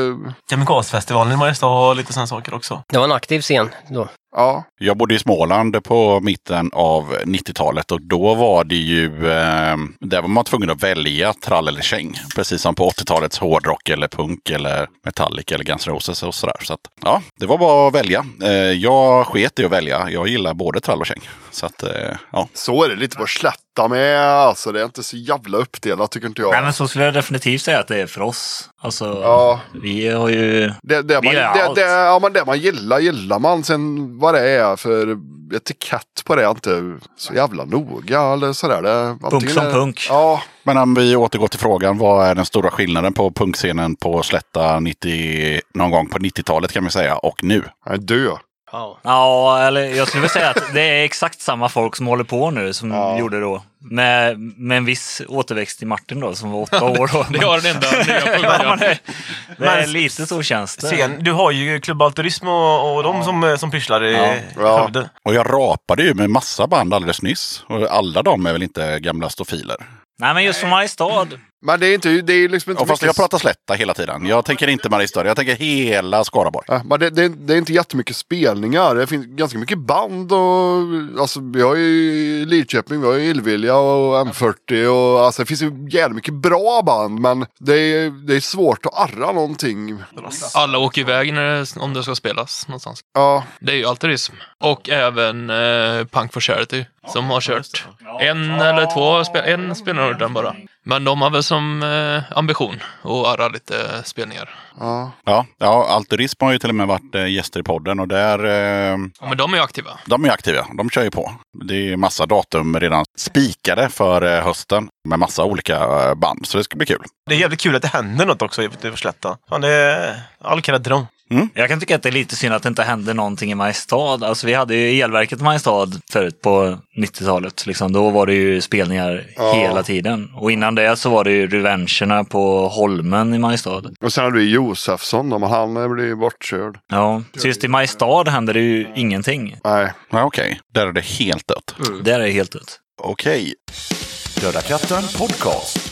E: Kamikazefestivalen i Mariestad och lite sådana saker också.
H: Det var en aktiv scen då.
A: ja.
B: Jag bodde i Småland på mitten av 90-talet och då var det ju, eh, där var man tvungen att välja trall eller käng. Precis som på 80-talets hårdrock eller punk eller metallic eller Guns N' Roses och sådär. Så att, ja, det var bara att välja. Eh, jag sket i att välja. Jag gillar både trall och käng. Så att, eh, ja.
A: Så är det lite på slätta med. Alltså det är inte så jävla uppdelat tycker inte jag.
G: Nej, men så skulle jag definitivt säga att det är för oss. Alltså,
A: Ja.
G: vi har ju...
A: Det, det, man,
G: Det är
A: det,
G: allt.
A: det, ja, men det man gillar gillar man. Sen vad det är för etikett på det är inte så jävla noga eller sådär. Det, antingen
G: som
A: är-
G: punk.
A: Ja,
B: Men om vi återgår till frågan, vad är den stora skillnaden på punkscenen på Slätta 90, någon gång på 90-talet kan vi säga och nu?
A: nej, dö.
H: Ja.
G: Ja, eller jag skulle väl säga att det är exakt samma folk som håller på nu som
A: Ja.
G: gjorde då. Med, med en viss återväxt till Martin då, som var åtta år då.
K: Det var den enda nya
G: Ja, men
K: punkten.
G: det- det är
E: Men-
G: lite så känns det.
E: Scen, du har ju Klubb Alturism och, och de som, eh, som pysslar i
A: Ja.
E: Skövde.
B: Och jag rapade ju med massa band alldeles nyss. Och alla de är väl inte gamla stofiler.
G: Nej, men just från Mariestad.
A: Men det är inte, det är liksom inte
B: Och fast jag
A: mycket-
B: pratar slätta hela tiden. Jag tänker inte Mariestad, jag tänker hela Skaraborg.
A: Ja, äh, men det, det, det är inte jättemycket spelningar. Det finns ganska mycket band och alltså vi har ju Lidköping, vi har ju Illvilja och M40 och alltså det finns ju jävligt mycket bra band men det är, det är svårt att arra någonting.
K: Alla åker iväg när det, om det ska spelas någonstans.
A: Ja,
K: Det är ju altruism. Och även eh, Punk for Charity som har kört en eller två spe- en spelarorden bara. Men de har väl som eh, ambition att arra lite spelningar.
A: ja.
B: Ja, ja Alturism har ju till och med varit eh, gäster i podden och där, eh,
K: Men de är ju aktiva.
B: de är ju aktiva. De kör ju på. Det är massa datum redan spikade för eh, hösten med massa olika eh, band. Så det ska bli kul.
E: Det är jävligt kul att det händer något också i i Slätta. Fan, det är all kredron.
G: Jag kan tycka att det är lite synd att det inte hände någonting i Mariestad. Alltså vi hade ju elverket i Mariestad förut på 90-talet. Liksom. Då var det ju spelningar
A: Ja.
G: hela tiden. Och innan det så var det ju revengerna på Holmen i Mariestad.
A: Och sen hade vi Josefsson, då, men han eh, blev ju bortkörd.
G: Ja. Så just i Mariestad hände det ju ingenting.
A: Nej,
B: Ja, Okej, där är det helt dött.
G: Där är det helt ut.
B: Okej. Döda katten podcast.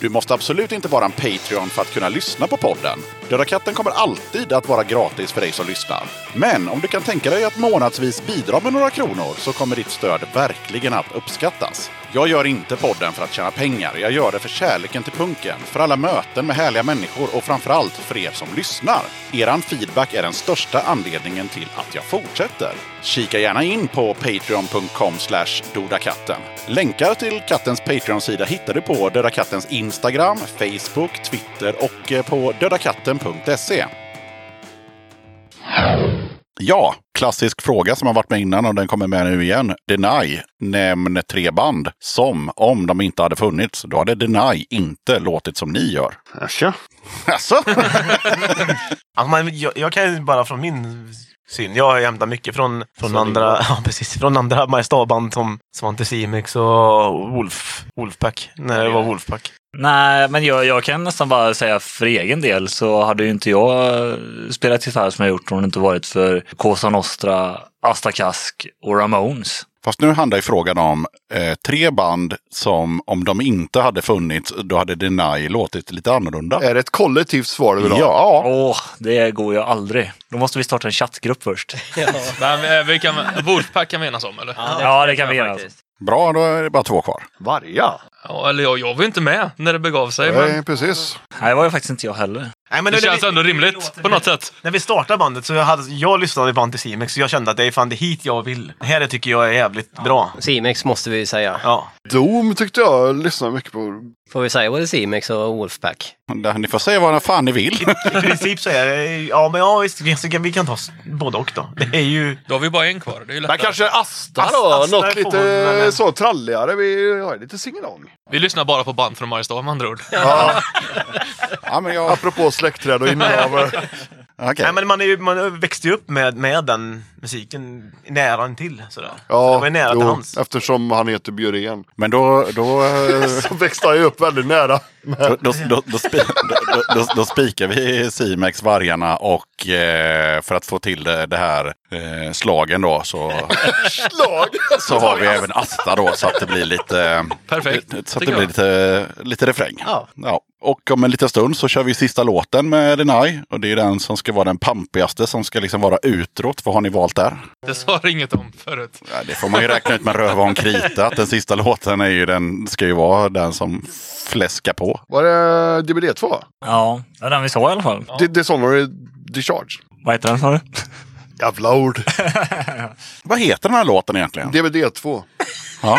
B: Du måste absolut inte vara en Patreon för att kunna lyssna på podden. Döda katten kommer alltid att vara gratis för dig som lyssnar. Men om du kan tänka dig att månadsvis bidra med några kronor så kommer ditt stöd verkligen att uppskattas. Jag gör inte podden för att tjäna pengar. Jag gör det för kärleken till punken, för alla möten med härliga människor och framförallt för er som lyssnar. Eran feedback är den största anledningen till att jag fortsätter. Kika gärna in på patreon.com slash dodakatten. Länkar till kattens Patreon-sida hittar du på Döda Kattens Instagram, Facebook, Twitter och eh, på dödakatten.se. Ja, klassisk fråga som har varit med innan och den kommer med nu igen. Deny, nämn tre band som om de inte hade funnits, då hade Deny inte låtit som ni gör.
A: Äsja.
B: Alltså?
E: Alltså, man, jag, jag kan ju bara från min syn. Jag har hämtat mycket från, från andra ja, precis, från andra Mariestadband som Svante Simex och Wolf, Wolfpack. När det var Wolfpack.
G: Nej, men jag, jag kan nästan bara säga för egen del så hade ju inte jag spelat gitarr som jag gjort om det inte varit för Cosa Nostra, Asta Kask och Ramones.
B: Fast nu handlar ju frågan om eh, tre band som om de inte hade funnits, då hade Deny låtit lite annorlunda.
A: Är det ett kollektivt svar du vill ha?
B: Ja,
G: Åh, det går ju aldrig. Då måste vi starta en chattgrupp först.
K: Men, eh, vi kan, Wolfpack kan vi enas om eller?
G: Ja, det kan vi göra.
B: bra då är det bara två kvar.
A: Varga?
K: Ja, eller jag, jag var ju inte med när det begav sig. Men
A: Nej, precis.
G: Nej, det var ju faktiskt inte jag heller.
E: Nej, men
F: Det känns
E: vi-
F: ändå rimligt på något sätt.
E: När vi startade bandet så hade jag lyssnade ibland till Simex så jag kände att det är fan det hit jag vill. Det här tycker jag är jävligt bra.
H: Simex måste vi ju säga.
E: Ja.
A: Doom tyckte jag lyssnade mycket på.
H: Får vi säga både Simex och Wolfpack?
B: Där, ni får säga vad fan ni vill.
E: I princip så är det, ja men ja visst, vi så kan, vi kan ta s- både och då. Det är ju...
F: Då har vi bara en kvar. Det är ju
A: Men
F: lättare.
A: kanske Asta
E: Asta-
A: då?
E: Asta
A: något
E: får man,
A: lite
E: men-
A: så tralligare. Vi har lite singelång.
F: Vi lyssnar bara på band från Mariestad med andra ord.
B: Ja, men jag...
A: Apropå släktträd och inavel.
B: Okej.
E: Nej men man, är ju, man växte ju upp med, med den musiken nära intill sådär. så det var
A: Ja,
E: ju nära till
A: jo,
E: hans.
A: eftersom han heter Björén.
B: Men då, då, eh,
A: Så växte han ju upp väldigt nära.
B: då, då, då, då, spi- då, då, då spikar vi Simex, Vargarna och eh, för att få till det, det här eh, slagen då så,
A: Slag!
B: så har vi även Asta då så att det blir lite, eh,
F: Perfekt,
B: så att det
F: tycker
B: blir
F: jag.
B: lite, lite refräng.
H: Ja.
B: Ja. Och om en liten stund så kör vi sista låten med Denai och det är den som ska vara den pampigaste som ska liksom vara utrot. Vad har ni valt där?
F: Det sa det inget om förut.
B: Ja, det får man ju räkna ut med röva om krita. Att den sista låten är ju den, ska ju vara den som fläskar på.
A: Var det DBD2?
J: Ja, det var den vi såg i alla fall.
A: Ja. Dishonored Discharge.
J: Vad heter den sa du?
A: Jävla ord.
B: Vad heter den här låten egentligen?
A: DBD2.
B: Ja.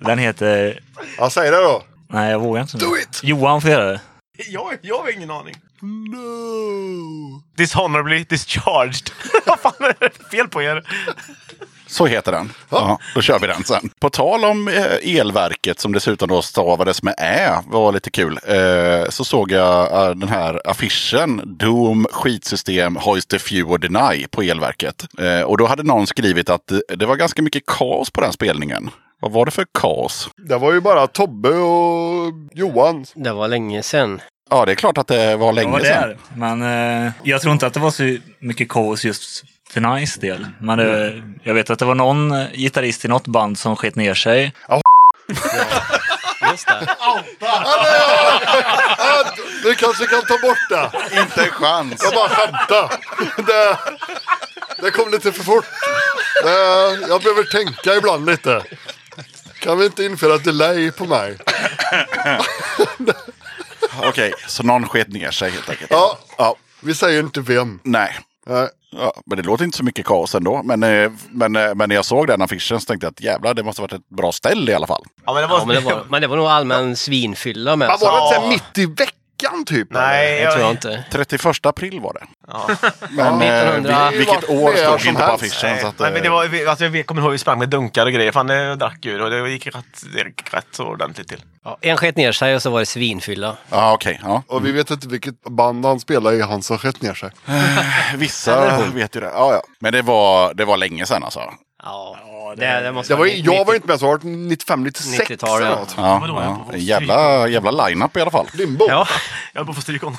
J: Den heter...
A: Ja, säg det då.
J: Nej, jag vågar inte. nu.
A: Do it!
J: Johan får göra det.
E: Jag, jag har ingen aning.
A: No!
E: Dishonorably discharged. Vad fan är det för fel på er?
B: Så heter den. Ja, då kör vi den sen. På tal om eh, elverket som dessutom då stavades med ä, var lite kul. Eh, så såg jag eh, den här affischen Doom skitsystem Hoist the Few och Deny på elverket. Eh, och då hade någon skrivit att eh, det var ganska mycket kaos på den spelningen. Vad var det för kaos?
A: Det var ju bara Tobbe och Johan.
H: Det var länge sedan.
B: Ja, det är klart att det var
J: Jag
B: länge
J: var
B: sedan.
J: där. Men eh, jag tror inte att det var så mycket kaos just för Nice del. Men det, jag vet att det var någon eh, gitarrist i något band som sket ner sig.
H: Just det.
A: Ah, Du kanske kan ta bort det.
B: Inte en chans.
A: Jag bara skämtar. Det, det kom lite för fort. Det, jag behöver tänka ibland lite. Kan vi inte införa delay på mig?
B: Okej, så någon sket ner sig helt enkelt.
A: Ja.
B: ja.
A: Vi säger inte vem.
B: Nej.
A: Nej.
B: Ja, men det låter inte så mycket kaos ändå. Men, eh, men, eh, men när jag såg den affischen så tänkte jag att jävlar, det måste varit ett bra ställe i alla fall.
E: Ja men det var...
H: Ja, men, det var, men det var nog allmän svinfylla med.
A: Men
H: så-
A: var det inte så här mitt i veckan typ?
E: Nej,
H: Det tror jag
E: jag,
H: inte.
B: 31 april var det.
E: Ja.
B: Men eh,
H: 1900.
B: vil- vilket år
A: Det är
B: stod
A: som
B: inte på
A: helst.
B: affischen. Så att, eh,
E: Nej, men det var, vi- alltså, jag kommer ihåg vi sprang med dunkar och grejer. Fan, det drack ju och det gick rätt, det gick rätt så ordentligt till.
H: Ja, en sket ner sig och så var det svinfylla.
B: Ja, okej. ja.
A: Och vi vet inte vilket band han spelar i, han som skett ner sig.
B: Vissa vet ju det. Ja, ja. Men det var, det var länge sedan alltså.
H: Ja,
J: det-
H: det, det måste
A: Det var,
H: vara
A: ju- jag var
H: 90
A: inte med så det var 95, 96
H: 90-tal,
A: eller
H: ja.
A: något.
B: Ja,
E: Vadå, jag
B: ja.
E: får
B: Jävla, jävla line-up i alla fall.
A: Limbo.
H: Ja,
E: Jag höll på att få stryk honom.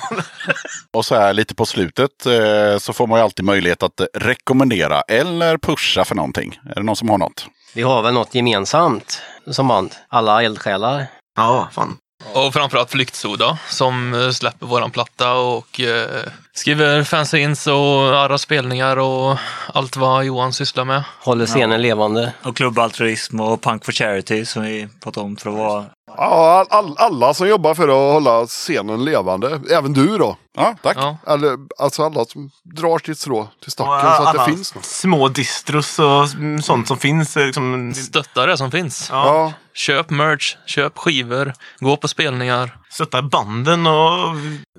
B: Och så här lite på slutet eh, så får man ju alltid möjlighet att eh, rekommendera eller pusha för någonting. Är det någon som har något?
H: vi har väl något gemensamt som band. Alla eldsjälar.
E: Ja, fan.
F: Och framförallt Flyktsoda som eh, släpper våran platta och eh, skriver fanzines och andra spelningar och allt vad Johan sysslar med.
H: Håller scenen levande.
J: Och Club Altruism och Punk for Charity som vi pratade om för att vara...
A: Ja, all, all, alla som jobbar för att hålla scenen levande. Även du då.
B: Ja, tack.
F: Ja.
A: Eller, alltså alla som drar sitt strå till stacken
E: Och
A: så att
E: alla
A: det finns något.
E: Små distros och mm, sånt som finns. eh, Liksom,
F: Stötta det som finns.
A: Ja,
F: Köp merch, köp skivor, gå på spelningar.
E: stötta banden och,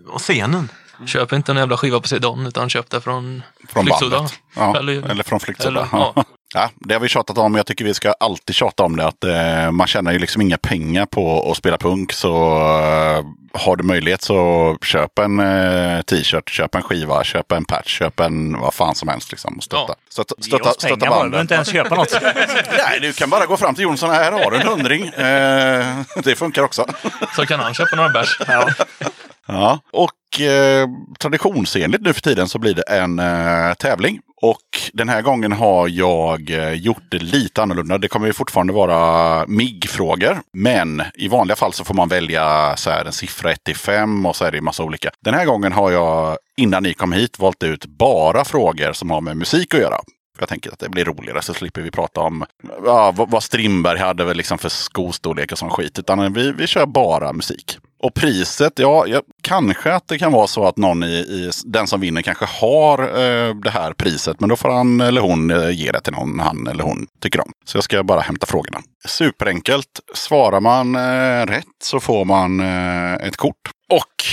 E: och scenen.
H: Mm.
F: Köp inte en jävla skiva på Sidon utan köp det från,
B: Från
F: Flyktsoda.
B: bandet. Ja. Eller,
F: Eller-
B: från Flyktsoda.
F: eller-
B: Ja.
F: ja.
B: Ja, det har vi tjatat om, men jag tycker vi ska alltid tjata om det. Att eh, man tjänar ju liksom inga pengar på att spela punk. Så eh, har du möjlighet så köp en eh, t-shirt, köp en skiva, köp en patch, köp en vad fan som helst. Liksom, och stötta.
F: Ja.
B: Stötta,
J: Ge
B: stötta,
J: oss pengar
B: stötta
J: bara, vi behöver
B: bandet.
J: inte ens köpa något.
B: Nej, du kan bara gå fram till Jonsson. Här har du en hundring. Eh, det funkar också.
F: Så kan han köpa några bärs.
B: Ja, och eh, traditionsenligt nu för tiden så blir det en eh, tävling. Och den här gången har jag eh, gjort det lite annorlunda. Det kommer ju fortfarande vara MIG-frågor. Men i vanliga fall så får man välja så här, en siffra 1 till 5 och så är det ju massa olika. Den här gången har jag, innan ni kom hit, valt ut bara frågor som har med musik att göra. Jag tänker att det blir roligare så slipper vi prata om ja, vad, vad Strindberg hade väl liksom för skostorlek och sån skit. Utan vi, vi kör bara musik. Och priset, ja, jag, kanske att det kan vara så att någon i, i den som vinner kanske har eh, det här priset. Men då får han eller hon eh, ge det till någon han eller hon tycker om. Så jag ska bara hämta frågorna. Superenkelt. Svarar man eh, rätt så får man eh, ett kort. Och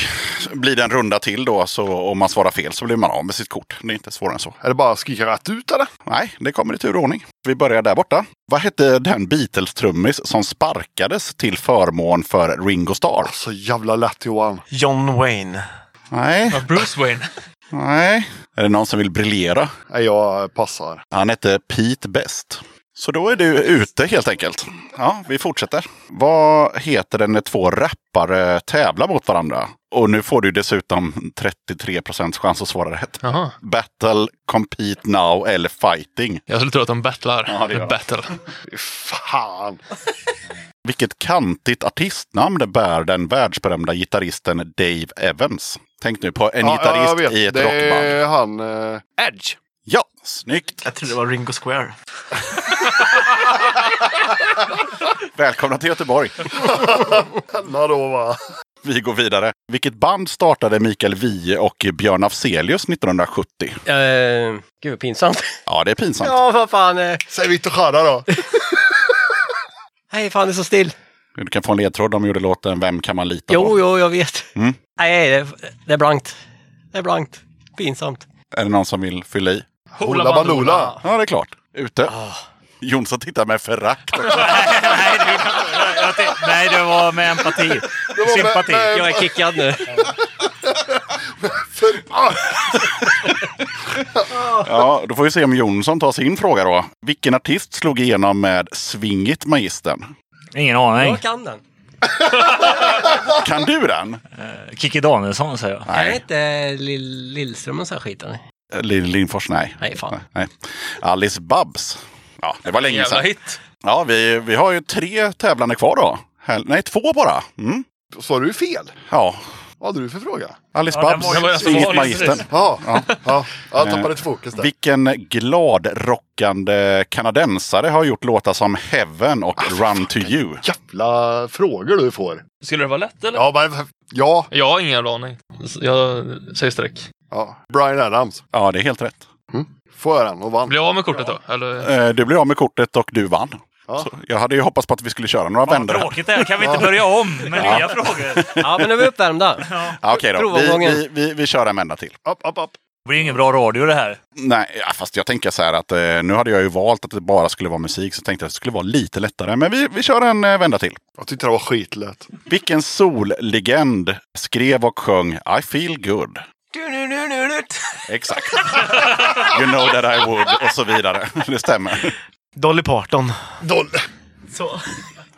B: blir det en runda till då, så om man svarar fel så blir man av med sitt kort. Det är inte svårare än så.
A: Är det bara att skrika rätt ut eller?
B: Nej, det kommer i tur och ordning. Vi börjar där borta. Vad hette den Beatles-trummis som sparkades till förmån för Ringo Starr?
A: Så Alltså, jävla lätt Johan.
E: John Wayne.
B: Nej,
F: Ja, Bruce Wayne.
B: nej. Är det någon som vill briljera?
A: Nej, jag passar.
B: Han hette Pete Best. Så då är du ute helt enkelt. Ja, vi fortsätter. Vad heter det när två rappare tävlar mot varandra? Och nu får du dessutom 33 procents chans att svara rätt.
F: Jaha.
B: Battle, compete now eller fighting.
F: Jag skulle tro att de battlar.
B: Ja, det gör
F: Eller
B: de.
F: battle.
A: Fy Fan.
B: Vilket kantigt artistnamn bär den världsberömda gitarristen Dave Evans? Tänk nu på en
A: Ja, jag
B: gitarrist
A: vet.
B: i ett
A: det
B: rockband.
A: är han. Eh,
E: Edge.
B: Ja, snyggt!
E: Jag trodde det var Ringo Square.
B: Välkomna till Göteborg!
A: denna då va?
B: Vi går vidare. Vilket band startade Mikael Wiehe och Björn Afzelius 1970?
H: Eh, gud, vad pinsamt.
B: Ja, det är pinsamt.
H: Ja, vad fan. eh.
A: Säg Victor Jara då.
H: Nej, fan det är så still.
B: Du kan få en ledtråd. De gjorde låten Vem kan man lita på?
H: Jo, jo, jag vet.
B: Mm.
H: Nej, det, det är blankt. Det är blankt. Pinsamt.
B: Är det någon som vill fylla i?
A: Hoola Baloola.
B: Ja, det är klart. Ute. Jonsson tittar med förakt. också.
J: nej, du, jag tänkte- nej, det var med empati.
A: var med-
J: Sympati.
A: med-
H: Jag är kickad nu.
B: Ja, då får vi se om Jonsson tar sin fråga då. Vilken artist slog igenom med Svingit Magistern?
J: Ingen aning.
H: Jag kan den.
B: Kan du den?
J: Kikki Danielsson säger jag.
H: Nej. Är det inte Lill, Lillström och så här skiten?
B: Lill Lindfors, nej.
H: Nej, fan.
B: nej. Alice Babs. Ja, det var länge
F: Jävla
B: sedan.
F: hit.
B: Ja, vi, vi har ju tre tävlande kvar då. Här- Nej, två bara. Mm.
A: Svarade du fel?
B: Ja,
A: Vad hade du för fråga?
B: Alice
J: Ja, den var ju- den var
B: Babs,
J: ju-
B: Svingit Magistern.
A: Ja, ja, ja. Jag tappade lite fokus där.
B: Vilken gladrockande kanadensare har gjort låtar som Heaven och Run to You?
A: Jävla frågor du får.
F: Skulle det vara lätt eller?
A: Ja, men ja.
F: Jag har ingen jävla aning. Jag säger streck.
A: ja. Brian Adams.
B: Ja, det är helt rätt.
A: Får jag den och vann.
F: Blir jag av med kortet då? Eller?
B: Eh, Du blev av med kortet och du vann.
A: Ja.
B: Så jag hade ju hoppats på att vi skulle köra några
J: Fan,
B: vändor.
J: vad
B: här.
J: tråkigt det här. Kan vi inte börja om med nya frågor?
H: Ja, men nu är vi uppvärmda.
B: Ja, Okej då, vi,
H: Provomgången.
B: vi, vi, vi kör en vända till.
A: Upp, upp, upp.
J: Det blir ingen bra radio det här.
B: Nej, ja, fast jag tänker så här att eh, nu hade jag ju valt att det bara skulle vara musik så tänkte jag att det skulle vara lite lättare. Men vi, vi kör en eh, vända till.
A: Jag tyckte det var skitlätt.
B: Vilken sollegend skrev och sjöng I feel good? Exakt. You know that I would och så vidare. Det stämmer.
E: Dolly Parton.
A: Doll.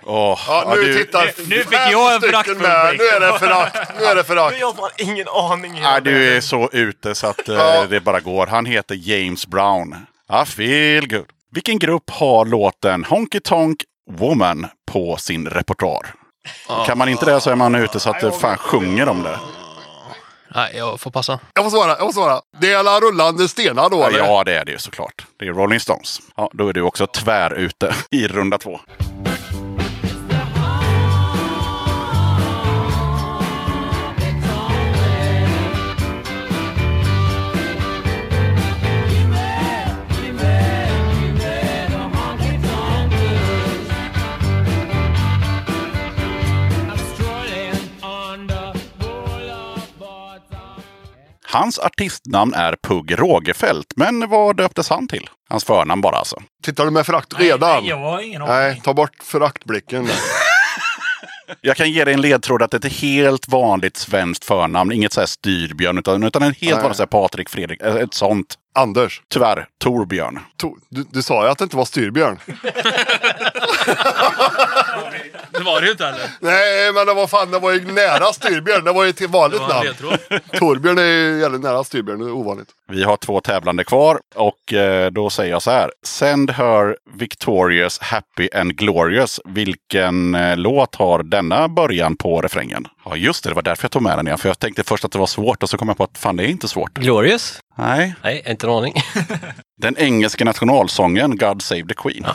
B: Åh,
A: Ja, nu
B: du,
A: tittar
J: nu fick
A: fem
J: jag en
A: stycken
J: föraktfull
A: med.
J: blick.
A: Nu är det förakt. Nu är det förakt.
E: Jag har ingen aning.
B: nej, du är så ute så att eh,
A: Ja.
B: det bara går. Han heter James Brown. I feel good. Vilken grupp har låten Honky Tonk Woman på sin repertoar? Kan man inte det så är man ute så att eh, fan sjunger om det.
F: Nej, jag får passa.
A: Jag får svara, jag får svara. Det är alla rullande stenar då eller?
B: Ja, det är det ju såklart. Det är Rolling Stones. Ja, då är du också tvär ute i runda två. Hans artistnamn är Pugh Rogefeldt, men vad döptes han till? Hans förnamn bara alltså.
A: Tittar du med förakt redan?
J: Nej, jag har ingen aning.
A: Nej, ta bort föraktblicken.
B: Jag kan ge dig en ledtråd att det är ett helt vanligt svenskt förnamn. Inget så här styrbjörn, utan, utan en helt
A: Nej.
B: vanlig så här Patrik, Fredrik, eh, ett sånt.
A: Anders,
B: Tyvärr, Torbjörn.
A: to, du, du sa ju att det inte var styrbjörn.
F: Det var det ju inte heller.
A: Nej, men det var fan, det var ju nära styrbjörn. Det var ju till vanligt namn. Torbjörn är ju jävligt nära styrbjörn, det är ovanligt.
B: Vi har två tävlande kvar och eh, då säger jag så här. Send her victorious, happy and glorious. Vilken eh, låt har denna början på refrängen? Ja, just det. Det var därför jag tog med den igen. För jag tänkte först att det var svårt och så kom jag på att fan, det är inte svårt.
H: Glorious?
B: Nej.
H: Nej, inte en aning.
B: Den engelska nationalsången God Save the Queen.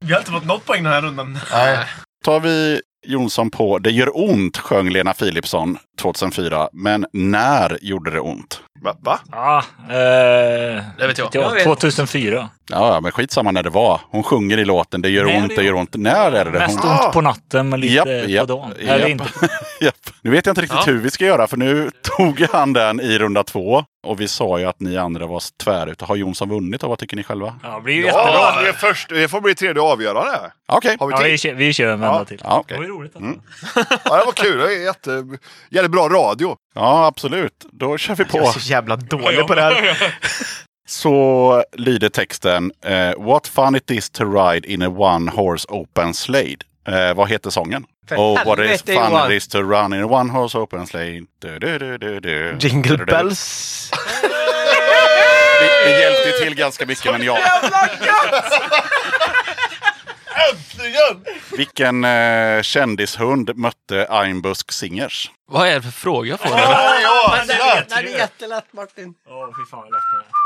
E: Vi har inte fått något poäng den här rundan.
A: Nej.
B: tar vi Jonsson på Det gör ont sjöng Lena Philipsson 2004. Men när gjorde det ont?
A: Va? Va?
J: Ja, eh,
F: Det vet jag.
J: ja,
L: Jag vet.
J: 2004.
B: Ja, ja, men skitsamma när det var. Hon sjunger i låten Det gör
J: När
B: ont, det gör ont. När är det det
J: Mest
B: hon...
J: ont på natten men lite
B: Japp,
J: på
B: japp,
J: dagen.
B: japp.
J: Eller inte.
B: Japp. Nu vet jag inte riktigt
F: Ja.
B: hur vi ska göra för nu tog han den i runda två. Och vi sa ju att ni andra var tvärute. Har Jonsson vunnit och vad tycker ni själva?
J: Ja, det blir ju jättebra.
A: Ja, det, är först, det får bli tredje avgörande.
B: Okej.
A: Har vi
J: Ja,
A: tid?
J: vi, kör, vi kör en vända till.
B: Ja, okej.
J: Det var ju roligt. Alltså.
A: Ja, det var kul. Det är jätte, jävligt bra radio.
B: ja, absolut. Då kör vi på.
E: Jag är så jävla dålig på det här.
B: Så lyder texten eh, What fun it is to ride in a one horse open sled. Eh, vad heter sången?
H: För
B: oh, what is
H: helvete,
B: fun
H: Johan.
B: it is to run in a one horse open sled. Du, du, du, du, du. Du,
E: Jingle
B: du, du.
E: bells.
B: Vi, vi hjälpte ju till ganska mycket, men ja. Vilken eh, kändishund mötte Einbusk Singers?
F: Vad är det för fråga jag får? eller?
A: Ja, ja,
H: Nej, det är jättelätt Martin.
J: Åh, fy fan vad lätt det var.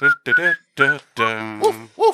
B: Du, du, du, du, du.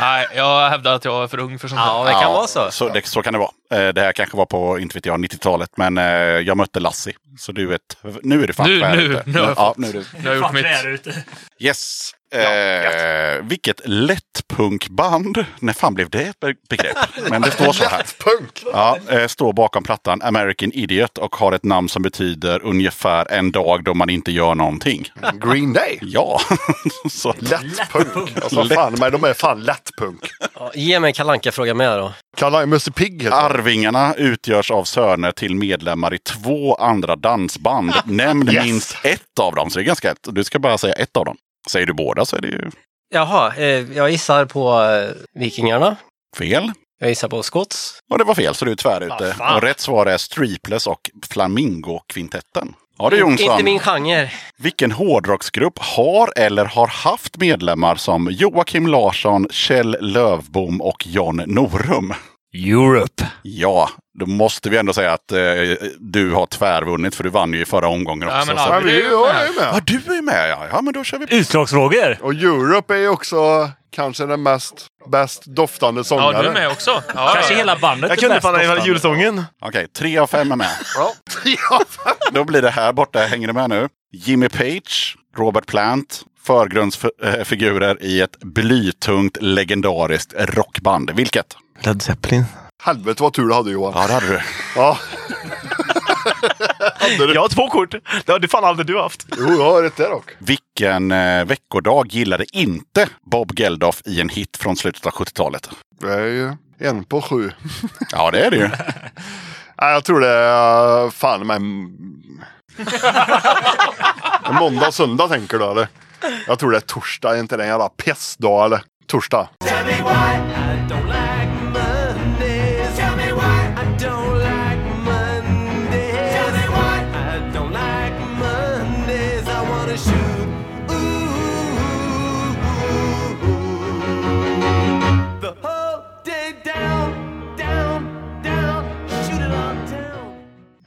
F: Nej, jag hävdar att jag är för ung för sånt här.
H: Ja, det kan vara så.
B: Så, det, så kan det vara. Eh, det här kanske var på, inte vet jag, 90-talet, men eh, jag mötte Lassie. Så du vet, nu är det fan
F: Nu-
B: tvär
F: nu-
B: ute.
F: nu har jag
B: ja,
F: fått.
B: nu är det
F: Nu har jag gjort
J: Fan,
F: mitt.
J: tvärute.
B: Yes. Eh, vilket lättpunkband. När fan blev det ett be- begrepp? Men det står så här.
A: Punk!
B: Ja, eh, står bakom plattan American Idiot och har ett namn som betyder ungefär en dag då man inte gör någonting.
A: Green Day.
B: Ja, så
A: Lättpunk. Alltså, vad fan, men de är fan lättpunk.
H: Ja, ge mig en Kalle Anka-fråga med då.
A: Kallar Musse Pigg heter de.
B: Arvingarna utgörs av söner till medlemmar i två andra dansband. Nämn
A: Yes.
B: minst ett av dem. Så det är ganska lätt. Du ska bara säga ett av dem. Säger du båda så är det ju
H: Jaha, eh, jag gissar på eh, Vikingarna.
B: fel.
H: Jag gissar på Scots.
B: Och det var fel, så du är tvär ute.
J: fan.
B: och rätt svar är Streepless och Flamingo-kvintetten. Ja du Jonsson,
H: Mm, Inte min genre.
B: vilken hårdrocksgrupp har eller har haft medlemmar som Joakim Larsson, Kjell Lövbom och Jan Norum?
J: Europe.
B: Ja, då måste vi ändå säga att eh, du har tvärvunnit för du vann ju i förra omgången också.
F: Ja, men
B: så-
A: Ja,
F: Arvid
A: vi är
F: är ju
A: ju jag är
F: med.
A: ju med.
B: Ja, du är med ja. Ja, men då kör vi.
J: Utslagsfrågor.
A: Och Europe är ju också kanske den mest bäst doftande
F: Ja,
A: sångaren.
F: du är med också. Ja, ja,
J: Kanske
F: ja.
J: hela bandet
E: Jag
J: är
E: kunde
J: bäst
E: fan hela
J: doftande.
E: julsången.
B: Okej, tre av fem är med.
A: Ja. Ja, fan.
B: Då blir det här borta. Hänger du med nu? Jimmy Page, Robert Plant, förgrundsfigurer i ett blytungt legendariskt rockband. Vilket?
E: Led Zeppelin.
A: Helvete vad tur du hade Johan.
B: Ja, det hade du.
A: Ja.
E: Jag har två kort. Det har du fan aldrig du haft.
A: Jo, jag har rätt där dock.
B: Vilken eh, veckodag gillade inte Bob Geldof i en hit från slutet av 70-talet?
A: Det är ju en på sju.
B: Ja, det är det ju.
A: Nej, jag tror det är fan men... Måndag och söndag tänker du eller? Jag tror det är torsdag, är inte det en jävla pissdag eller? Torsdag.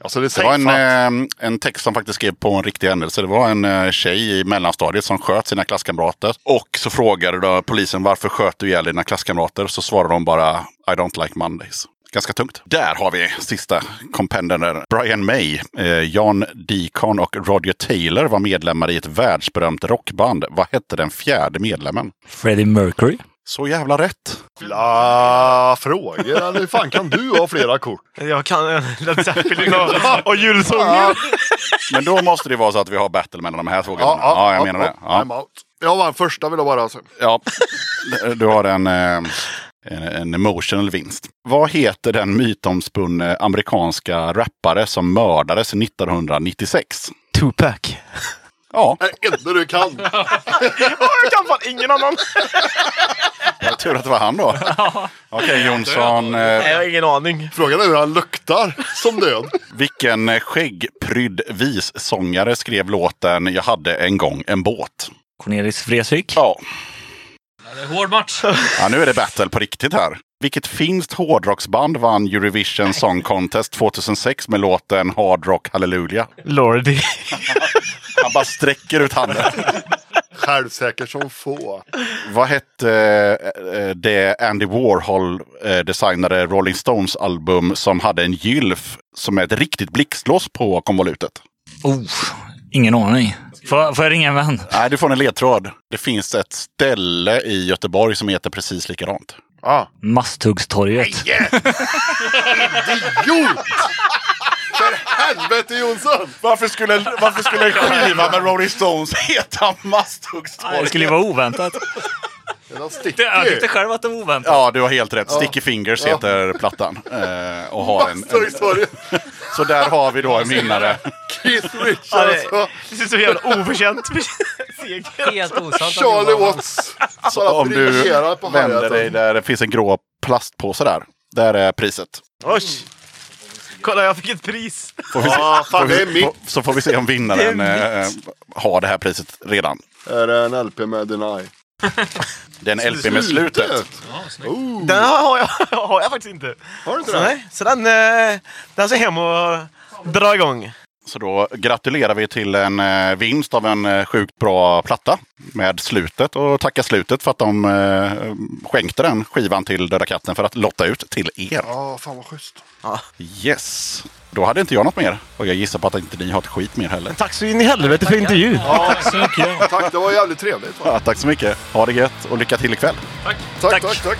A: Alltså det
B: Det
A: sägs
B: var en,
A: fan-
B: eh, en text som faktiskt skrev på en riktig händelse. Det var en eh, tjej i mellanstadiet som sköt sina klasskamrater. Och så frågade då polisen varför sköt du ihjäl dina klasskamrater? Så svarade de bara I don't like Mondays. Ganska tungt. Där har vi sista compendern. Brian May, eh, John Deacon och Roger Taylor var medlemmar i ett världsberömt rockband. Vad hette den fjärde medlemmen?
J: Freddie Mercury.
B: Så jävla rätt!
A: Jävla frågor. Eller hur fan kan du ha flera kort?
E: Jag kan eh, Led Zeppelin och, och julsången.
B: Men då måste det vara så att vi har battle mellan de här frågorna. Ja, jag menar det. Ja.
A: I'm out. Jag var första vill jag bara säga.
B: Ja, du har en, eh, en, en emotional vinst. Vad heter den mytomspunne amerikanska rappare som mördades 1996?
E: Tupac.
B: Ja,
A: Det enda du kan.
E: Jag kan fan ingen annan.
B: jag tur att det var han då. Okej Jonsson, eh,
E: Nej, jag har ingen aning.
A: Frågan är hur han luktar som död.
B: vilken eh, skäggprydd vissångare skrev låten Jag hade en gång en båt?
J: Cornelis Vreeswijk.
B: Ja,
F: Det är hård match.
B: ja nu är det battle på riktigt här. Vilket finskt hårdrocksband vann Eurovision Song Contest 2006 med låten Hard Rock Hallelujah?
E: Lordy.
B: Han bara sträcker ut handen.
A: Självsäker som få.
B: Vad hette eh, det Andy Warhol eh, designade Rolling Stones album som hade en gylf som är ett riktigt blixtlås på konvolutet?
J: Oh, ingen aning. Får, får jag ringa en vän?
B: Nej, du får en ledtråd. Det finns ett ställe i Göteborg som heter precis likadant.
A: Ah,
J: Masthuggstorget.
A: idiot! För helvete Jonsson!
B: Varför skulle, varför skulle en skiva med Rolling Stones heta Masthuggstorget?
J: Det skulle ju vara oväntat.
A: Den
J: Jag tyckte
A: sticker.
J: själv att det var oväntat.
B: Ja, du har helt rätt. Sticky Fingers heter plattan. Eh, och har en, en,
A: Masthuggstorget.
B: så där har vi då en vinnare.
A: Keith Richards
E: Ja, det-
A: och
E: Det är så jävla oförtjänt seger.
H: Helt osant.
A: Charlie Watts. Bara
B: Om du
A: dirigerar på
B: vänder dig
A: Harriet.
B: där det finns en grå plastpåse där. Där är priset.
E: Oj! Kolla, jag fick ett pris.
B: Får vi se,
A: Ja, fan, det är
B: får vi,
A: mitt.
B: får- så får vi se om vinnaren eh, har det här priset redan.
A: Är det en LP med Deny?
B: Det är en LP med slutet.
E: Den har jag, har jag faktiskt inte.
A: Har du inte
E: Så,
A: det?
E: nej, så den, eh, den ska hem och dra igång.
B: Så då gratulerar vi till en eh, vinst av en eh, sjukt bra platta med slutet och tackar slutet för att de eh, skänkte den skivan till Döda katten för att lotta ut till er.
A: Ja, fan vad schysst.
B: Yes! Då hade inte jag något mer. Och jag gissar på att inte ni har ett skit mer heller.
E: Tack så in i helvete för intervjun.
A: Tack, det var jävligt trevligt. Va?
B: Ja, tack så mycket. Ha det gött och lycka till ikväll.
A: Tack, tack, tack.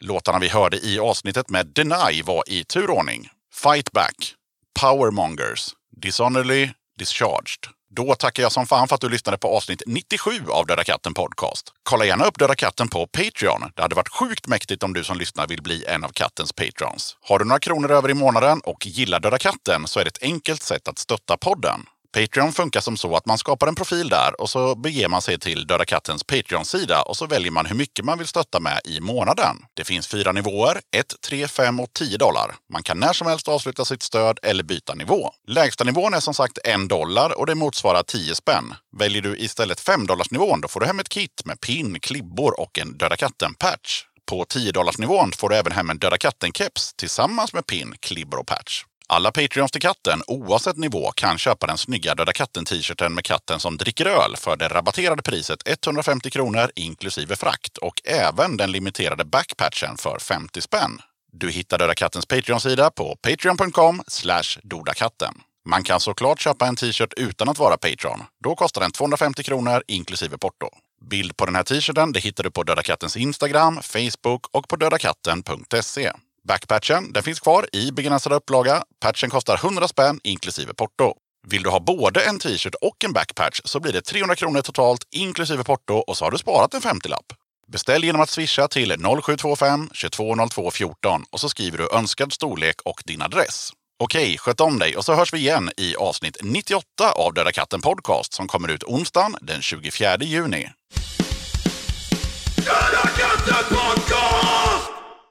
B: Låtarna vi hörde i avsnittet med Deny var i turordning. Fight Back, Powermongers, Dishonorably, Discharged. Då tackar jag som fan för att du lyssnade på avsnitt 97 av Döda katten Podcast. Kolla gärna upp Döda katten på Patreon. Det hade varit sjukt mäktigt om du som lyssnar vill bli en av kattens patrons. Har du några kronor över i månaden och gillar Döda katten så är det ett enkelt sätt att stötta podden. Patreon funkar som så att man skapar en profil där och så beger man sig till Döda Kattens Patreon-sida och så väljer man hur mycket man vill stötta med i månaden. Det finns fyra nivåer, 1, 3, 5 och 10 dollar. Man kan när som helst avsluta sitt stöd eller byta nivå. Lägsta nivån är som sagt 1 dollar och det motsvarar 10 spänn. Väljer du istället 5 dollarsnivån då får du hem ett kit med pin, klibbor och en Döda Katten-patch. På 10 dollarsnivån får du även hem en Döda katten-keps tillsammans med pin, klibbor och patch. Alla Patreons till katten, oavsett nivå, kan köpa den snygga Döda katten-t-shirten med katten som dricker öl för det rabatterade priset 150 kronor inklusive frakt och även den limiterade backpatchen för 50 spänn. Du hittar Döda kattens Patreon-sida på patreon.com dodakatten. Man kan såklart köpa en t-shirt utan att vara Patreon. Då kostar den 250 kronor inklusive porto. Bild på den här t-shirten det hittar du på Döda kattens Instagram, Facebook och på dödakatten.se. Backpatchen den finns kvar i begränsad upplaga. Patchen kostar 100 spänn inklusive porto. Vill du ha både en t-shirt och en backpatch så blir det 300 kronor totalt inklusive porto och så har du sparat en 50-lapp. Beställ genom att swisha till 0725 220214 och så skriver du önskad storlek och din adress. Okej, sköt om dig och så hörs vi igen i avsnitt 98 av Döda katten Podcast som kommer ut onsdagen den 24 juni.
D: Döda katten podcast!